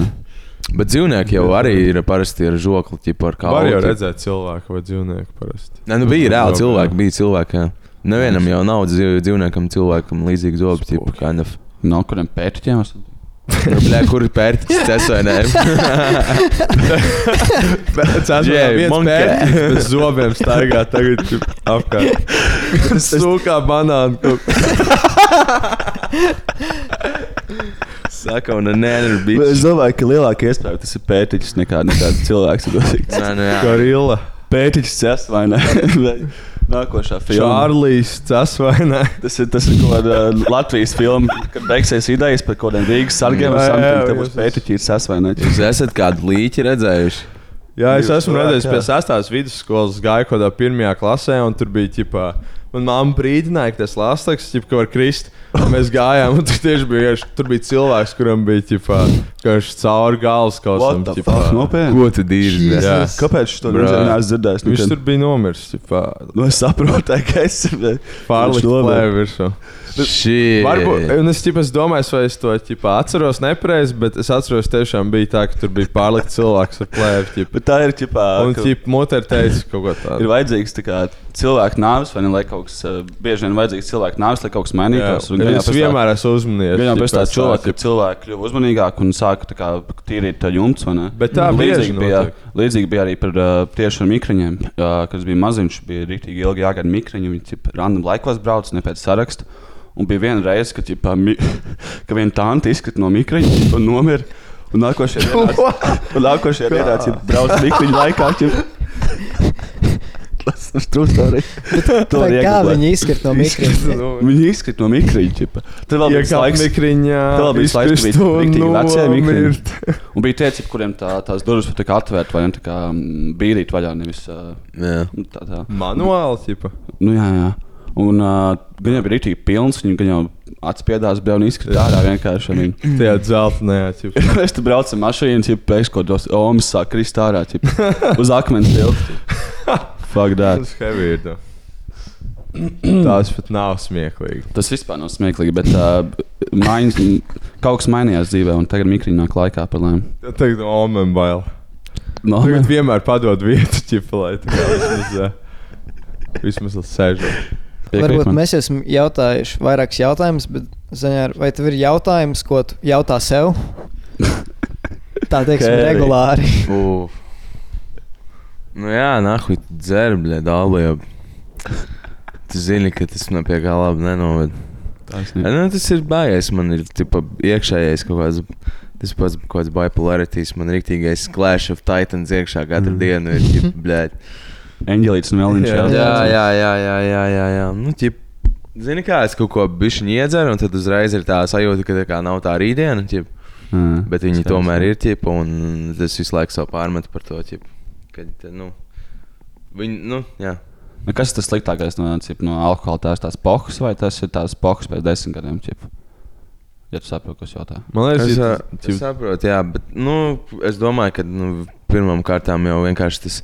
Bet dzīvnieki jau arī ir parasti ar žokli, tipā ar
Kā var jau
kāju.
redzēt cilvēku vai dzīvnieku parasti.
Nē, nu bija reāli
Zobi,
cilvēki,
jā.
bija cilvēki. Jā. Nevienam jau nav dzīv, dzīvniekam, cilvēkam līdzīga zobe, tipa, kind of.
No kuriem pētījiem esat?
Nu, Blē, kur ir pērtiķis, tas vai nē?
Es esmu
Yeah,
viens
monkey.
pēc bez zobiem staigā tagad čip, apkārt. Sūkā banānu kaut kā.
Saka, un nu, nē, ir
Es
bijis.
domāju, ka lielākā iespēja tas ir pētījis nekā, nekā cilvēks.
Nē, nu jā.
Gorilla.
Pētījis cēlās vai ne? Nākošā filma.
Čārlis, tas vai ne?
Tas ir, tas ir kaut kāda Latvijas filma, kad beigsies idejas par kaut kādiem Rīgas sargiem.
Jā,
Jā, jā,
jā,
jā, būs
jā,
pētījis cēlās vai ne?
Jūs esat kādu līķi redzējuši?
Jā, es
Divas
esmu
cilvēki,
redzējis,
jā.
ka pēc astās vidusskolas gāju kaut kādā pirmajā klasē, un tur bija ģipā. Un mamma brīdināja, ka tas lāstaks, ģip, ka var krist. Un Mēs gājām, un tur tieši bija, tur bija cilvēks, kuram bija ģipā, ka viņš cauri galvas kaut
What the fuck?
kādam.
Nopietni.
Ko tu dīri?
Jā.
Kāpēc tu to
Bro.
neesi dzirdējis?
Viņš
nekad?
tur bija nomiris, ģipā,
Nu, es saprotu, ka es esmu
pārlikt
nomirst.
plēvi virsū.
Šī.
Varbūt, un es, ģipā, es domāju, vai es to ģipā, atceros nepareizi, bet es atceros, tiešām bija tā, ka tur bija pārlikt cilvēks ar plēvi. Ģipā.
Bet tā ir ķipā.
Un
ka
ģipā, motēr teica kaut ko
Ir
tādu.
vajadzīgs tā kā, cilvēka nāves, vai ne? Lai kaut kas, eh, bieži vien vajadzīgs cilvēka nāves, lai kaut kas mainītos. un
es
pēc tā-
vienmēr esmu uzmanīgs.
Vienā
ģipā,
pēc tam
es
cilvēki, cilvēki kļuva uzmanīgāki un sāka tā kā tīrīt tā jumts. vai ne?
Bet tā
Un
bieži
līdzīgi bija,
notiek.
līdzīgi bija arī par uh, tiešām mikriņiem. Uh, kad es biju maziņš, bija rīktīgi ilgi jāgaida mikriņi. Viņi tip, random laikos brauca, ne pēc saraksta. Un bija viena reize, kad, ķipa, mi, ka viena tante izkrita no mikriņa un nomira. Un nākošajā dienā, un nākošajā dienā, ja brauc mikriņu laikā, ķipa, tas ir trūcis arī. To
vai
var
kā
iegūt.
viņi izkrita no mikrofona.
Nu,
Viņi izkrita no mikriņa. ķipa. Tad vēl bija
Iekāpt
laiks.
mikriņā,
Vēl bija slaids,
izkrist
bija
un
riktīgi vecie mikriņi.
nomirt.
Un bija tie, cik, kuriem tā, tās durvis pat tika atvērtas, vai ne tā kā mm, bīdīt vaļā, nevis uh,
Jā.
nu, tā tā.
Manuāli, tipa.
Nu, jā, jā. Un uh, viņa bija rītīgi pilns, viņa gan jau atspiedās, bija un izskatījās ārā vienkārši. un Viņa.
Tajā dzeltenajā, tipa.
Es te braucu ar mašīnu, jau pēkšņi kaut kādos omas sāk krist ārā, ķip, uz akmens tilta. Fuck, that.
Tas heavy ir. tā. Tās pat nav smieklīgi.
Tas vispār nav smieklīgi, bet uh, maiņas, kaut kas mainījās dzīvē, un tagad mikrīna nāk laikā par lēmumu.
Tagad omen bail.
No,
Tagad vienmēr padod vietu, tipa, lai tā kā vismaz, eh, vismaz līdz sēžam.
piekrīt
Varbūt
man.
mēs jau esam jautājuši vairākus jautājumus, bet, Zaņār, vai tev ir jautājums, ko tu jautā sev? Tā teiksim,
Kērī.
regulāri.
Uf. Nu jā, nahuj, dzērbi, dālu jau. tu zini, ka tas man pie gala nenoved.
Tas
Ai,
ne-
Nu, tas ir baigais. Man ir tipa, iekšējais kaut kāds. Tas pats kaut kāds bipolarācijas, man ir rīktīgais Clash of Titans iekšā katru mm. dienu. Ir, ķip, bļēt.
Eņģelīts un Melniņš.
Jā.
jā, jā, jā, jā, jā, jā, jā. Nu, ķip, zini, kā es kaut ko bišķi iedzeru, un tad uzreiz ir tā sajūta, ka tā kā nav tā rītdiena. Ķip,
Mm.
bet viņi
Skaidrs.
tomēr ir ķip, un es visu laiku savu pārmetu par to. Ķip, kad, nu, viņi, nu, jā.
Nu, Kas ir tas sliktākais no, cip, no alkohola? Tās tās pohas vai tas ir tās pohas pēc desmit gadiem? Cip? Ja tu saproti, kas jautā.
Man liekas,
Es,
ja
ā,
tu-
es saprotu, jā, bet nu, es domāju, ka nu, pirmām kārtām jau vienkārši tas.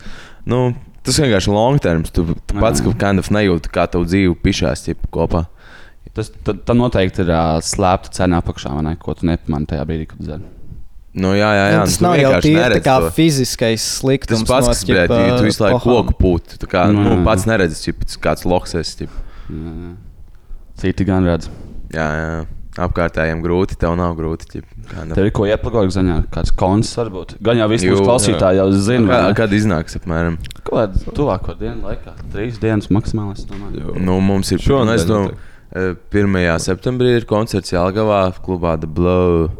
Nu, Tas vienkārši ir long term. Tu tu
Jā.
pats kaut kādā veidā nejūti, kā tavu dzīvi pišās ķip, kopā.
Tas tad, tad noteikti ir uh, slēpta cena apakšā, vai ne, ko tu nepamani tajā brīdī, kad dzer.
Nu, jā, jā, jā.
Nu,
nu,
tas
tu
nav jau
vienkārši
tīri tā
neredzi
kā
to.
fiziskais sliktums.
Tas pats,
no
kas
ķipa, oh,
bija. Tu visu laiku
pohām.
koku pūti. Tu kā,
Nu,
nu,
jā.
pats neredzi, ķip, kāds loks esi. ķip.
Citi gan redz.
Jā, jā. jā. Apkārtējiem grūti, tev nav grūti. Ķip, kā, nu, nav.
Tev ir ko ieplakot, ziņā, kāds koncerts varbūt. Gan jau visi
Jū,
mūsu klausītāji jau zina,
kā,
vai ne?
kad iznāks apmēram?
Kaut kādā tuvāko dienu laikā, trīs dienas maksimāli. es domāju.
Nu, mums ir
Šonedēļ
nu, es domāju,
notiek.
eh, 1. septembrī ir koncerts Jālgavā, klubā The Blow.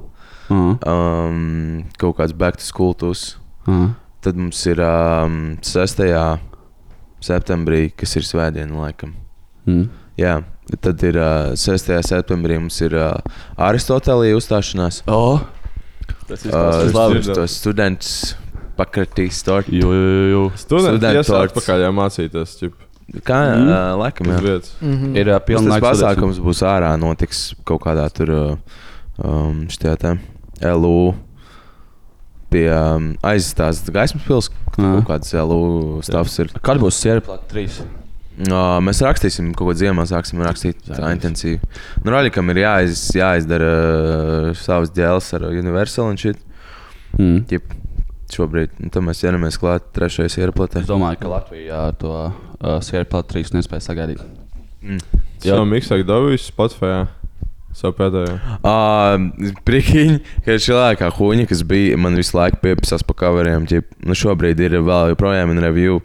Mhm,
Um, kaut kāds back to school tūs.
mhm.
Tad mums ir um, 6. septembrī, kas ir svētdiena laikam.
Mhm.
Jā, tad ir uh, 6. septembrī mums ir uh, Aristotelija uzstāšanās.
O, Tas ir
Uh,
tas
labi.
uz to students pakratīs to.
labākais.
Studenti
Studentu
iesāk
torts.
atpakaļ, jā, mācīties, ķip,
Kā
Mm.
mm. uh, laikam,
uz
jā.
vietas.
Ir uh,
Mums
pilnīgs
Tas pasākums būs ārā, notiks kaut kādā tur uh, um, šajā tā LU. Pie um, aizstās gaismas pilsētas,
Jā.
kaut kāds LU stāvs ir.
Kad būs sērplāta trīs?
Uh, mēs rakstīsim, kaut ko dziemā sāksim rakstīt. Tā
Zainis.
intensīvi. Nu, Raļikam ir jāiz, jāizdara uh, savs dēls ar Universal un šit.
Mm.
Jip, šobrīd, un tad mēs ķeramies klāt trešais ieraplatē.
Es domāju, ka Latvijā to uh, sērplāta trīs nespēja sagaidīt. Jā.
Jā, Miksāk Davis, Spotify, savu pēdējo.
Uh, Priekšķiņ, ka šī lēkā huņa, kas bija, man visu laiku pieprasās par coveriem. Ķip, nu, šobrīd ir vēl joprojām in review,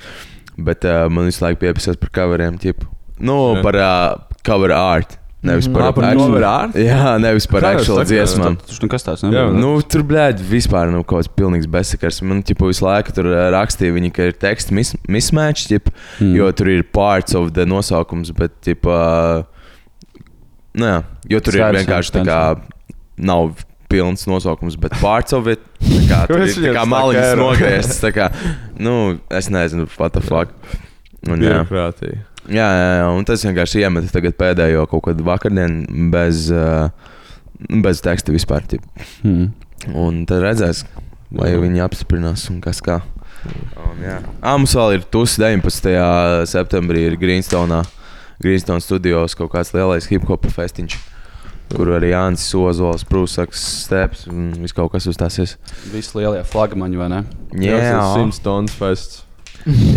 bet uh, man visu laiku pieprasās par coveriem. Ķip. Nu,
Jā.
par uh, cover art. Nevis par,
Ā, par
actual-
cover art?
Jā, nevis par
Kā jūs
aktuālu
sakāt?
dziesmām.
Tas nu kas tāds
Jā,
nebija.
nu.
Nu, tur, blēdi, vispār nav nu, kaut kāds pilnīgs bezsakars. Man, tipo, visu laiku tur ā, rakstīja, viņi, ka ir teksts mis- mismatch, tip, mm.
Hmm.
jo tur ir parts of the nosaukums, bet, tipo, nu, jā, jo tur ir
Sērs,
vienkārši
jā,
tā kā nav pilns nosaukums, bet parts of it, tā kā, tur
Kāpēc
ir tā
viņiem
kā
tā
maliņas
kā ir?
nogrieztas, tā kā, nu, es nezinu, what the fuck. Un, jā.
Birokrātija.
Jā, jā, jā, un tas vienkārši iemeta tagad pēdējo kaut kādu vakardienu bez, ā, bez teksta vispār. Tip.
Mm.
Un tad redzēs, vai
Jā.
viņi apstiprinās un kas kā. Un, Um, jā, à, mums vēl ir tas 19. septembrī ir Grīnstonā. Grīnstona studijos kaut kāds lielais hip hop festiņš, kur arī Jānis Ozols, Prūsakas, Steps un viss kaut kas uzstāsies.
Visi lielie flagmaņi, vai ne?
Jā,
Simpsons Fest.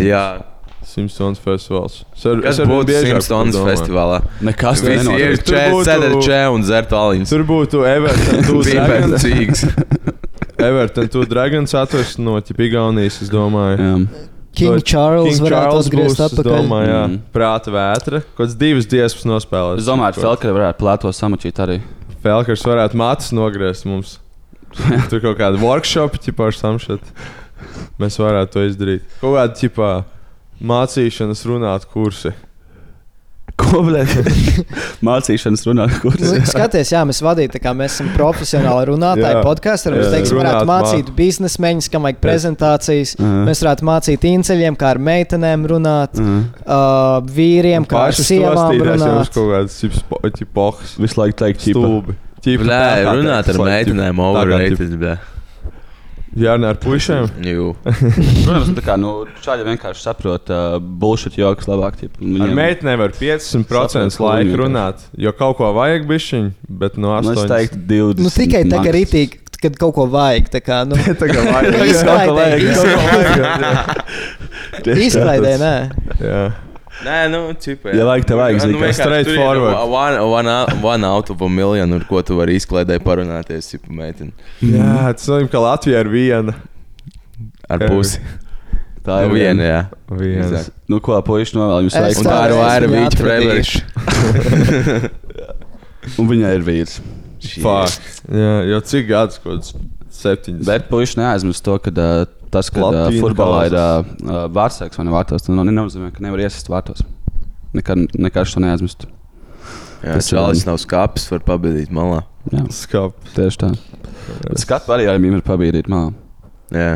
jā.
Simpsons Festivals. Es ar-
Kas
es arvien
būtu
biežāk
Simpsons
par to domāju.
festivālā?
Nekas
Visi ir
nenotiek.
Tur būtu-
čēdi, čēdi un dzertu aliņus.
Tur būtu Everton, tu Dragons.
cīgs.
Everton, tu Dragons atvest no ķip Igaunijas, es domāju.
Jā.
King
Dod-
Charles
King
varētu
Charles
atgriezt
būs, es
atpakaļ.
Domāju, jā.
Mm.
Prāta vētra. Kāds divas dziesmas nospēlēs.
Es domāju, ka
Kaut-
Falkrai varētu plēto samačīt arī.
Falkers varētu matus nogriezt mums. Tur kaut kāda workshop, tipā ar samšat. Mēs varētu to izdarīt. Kaut kāda tipā mācīšanas runāt kursi.
Ko blēdi? Mācīšanas runā, kur
Nu, skaties, jā, mēs vadījām, kā mēs esam profesionāli runātāji
Jā.
podkāstā. Mēs
Jā.
teiksim,
Runāt
varētu
mā-
mācīt biznesmeņus, kam vajag prezentācijas.
Mhm.
Mēs varētu mācīt inceļiem, kā ar meitenēm runāt,
Mm.
uh, vīriem, kā ar sievām
jums
runāt.
kaut kādas tipoks.
Visu laiku teikt, ķipa.
Stulbi. Ķipa
Blē,
tā kā
runāt ar
teiks, lai ķip- tā kā
meitenēm,
ķip-
overrated. blē.
Jārunā ar puišiem.
Jū.
Protams, tā kā nu, šādi vienkārši saprot uh, bullshit joks labāk. Ķipa. nu,
Ar
Viņiem-
meitenēm var 50%
Saprot,
laika
ko viņi
runāt, jo kaut ko vajag bišķiņ, bet no
Nu, es
8.
teiktu, 20.
Nu, tikai tā kā
maks.
rītīgi, kad kaut ko vajag. tā Kā, nu,
Tagad
Izklaidē, Izklaidē, nē.
Jā.
Nē, nu, cipē.
Ja vajag, te vajag, zini, kā.
Straight forward.
One, one, out- one out of a million, ar ko tu vari izklaidē parunāties, cipa meiteni.
Jā, tas nozīmē, ka Latvija ir viena.
Ar pusi. Nu,
Tā ir
Viena,
viena.
jā.
Viens.
Exact. Nu, ko puikas novēl jums
Es
veiksmi?
Un tā ir
Tāpēc
vaira
viņu
vīča
atradīšu.
prevērš.
Un viņai ir vīrs.
Fuck. Jā, jau cik gads, kaut kāds septiņas.
Bet puikas neaizmirst to, ka uh, tas, ka uh,
Latīna
futbolā ir uh,
kauzas.
uh, vārtsēks vai ne vārtos, tas nu, nenozīmē, ka nevar iesist vārtos. Nekad, nekad to neaizmirst.
Jā,
Tas
tas
ir
vēl
viens.
nav skāpis, var pabedīt malā.
Jā,
Skap.
tieši tā. Bet skatu arī ar mīmīm ir pabīdīt malā.
Jā,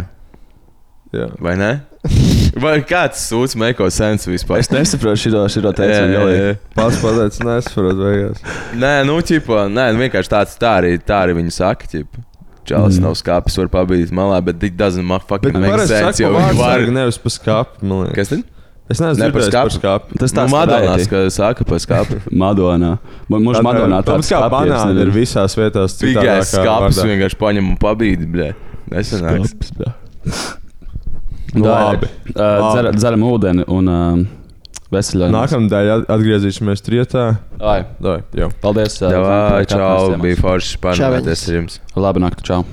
Jā.
vai ne? Vai kāds sūdz Meiko sensu vispār?
Es nesaprotu šo, šo teicienu.
Jā, jā,
galīgi.
jā.
Pats pateicis, nesaprot, beigās.
Nē, nu, ķipa, nē, nu, vienkārši tāds, tā arī, tā arī viņi saka, ķipa. Čālis mm. nav skāpis, var pabīt malā, bet it doesn't make fucking
Bet
make
parasti
sense,
saka,
jo
ka
viņi var.
vārdsargi nevis pa skapu, man liekas.
Kas tad?
Es nezinu,
Ne, par
kāpēc par
skapu.
skapu.
Tas
Nu,
tāds
Madonās,
varēja.
ka saka pa skāpi.
Madonā. Man liekas, Madonā
tāds
tāds
kā
skāpiens
banāna
nevienam.
ir visās vietās.
Tikai skāpis
vārdā.
vienkārši paņem un pabīt, blē. Nesanāks.
Nu,
Labi.
labi. Uh, dzer, dzeram ūdeni un uh, veseļojamies.
Nākamdēļ at- atgriezīsimies trietā.
Ai,
Dai, jau.
Paldies. ā,
Jā,
par katru
čau,
ciemats.
bija forši
Čau,
pārnāvēties ar jums.
Labi, nakti. Čau.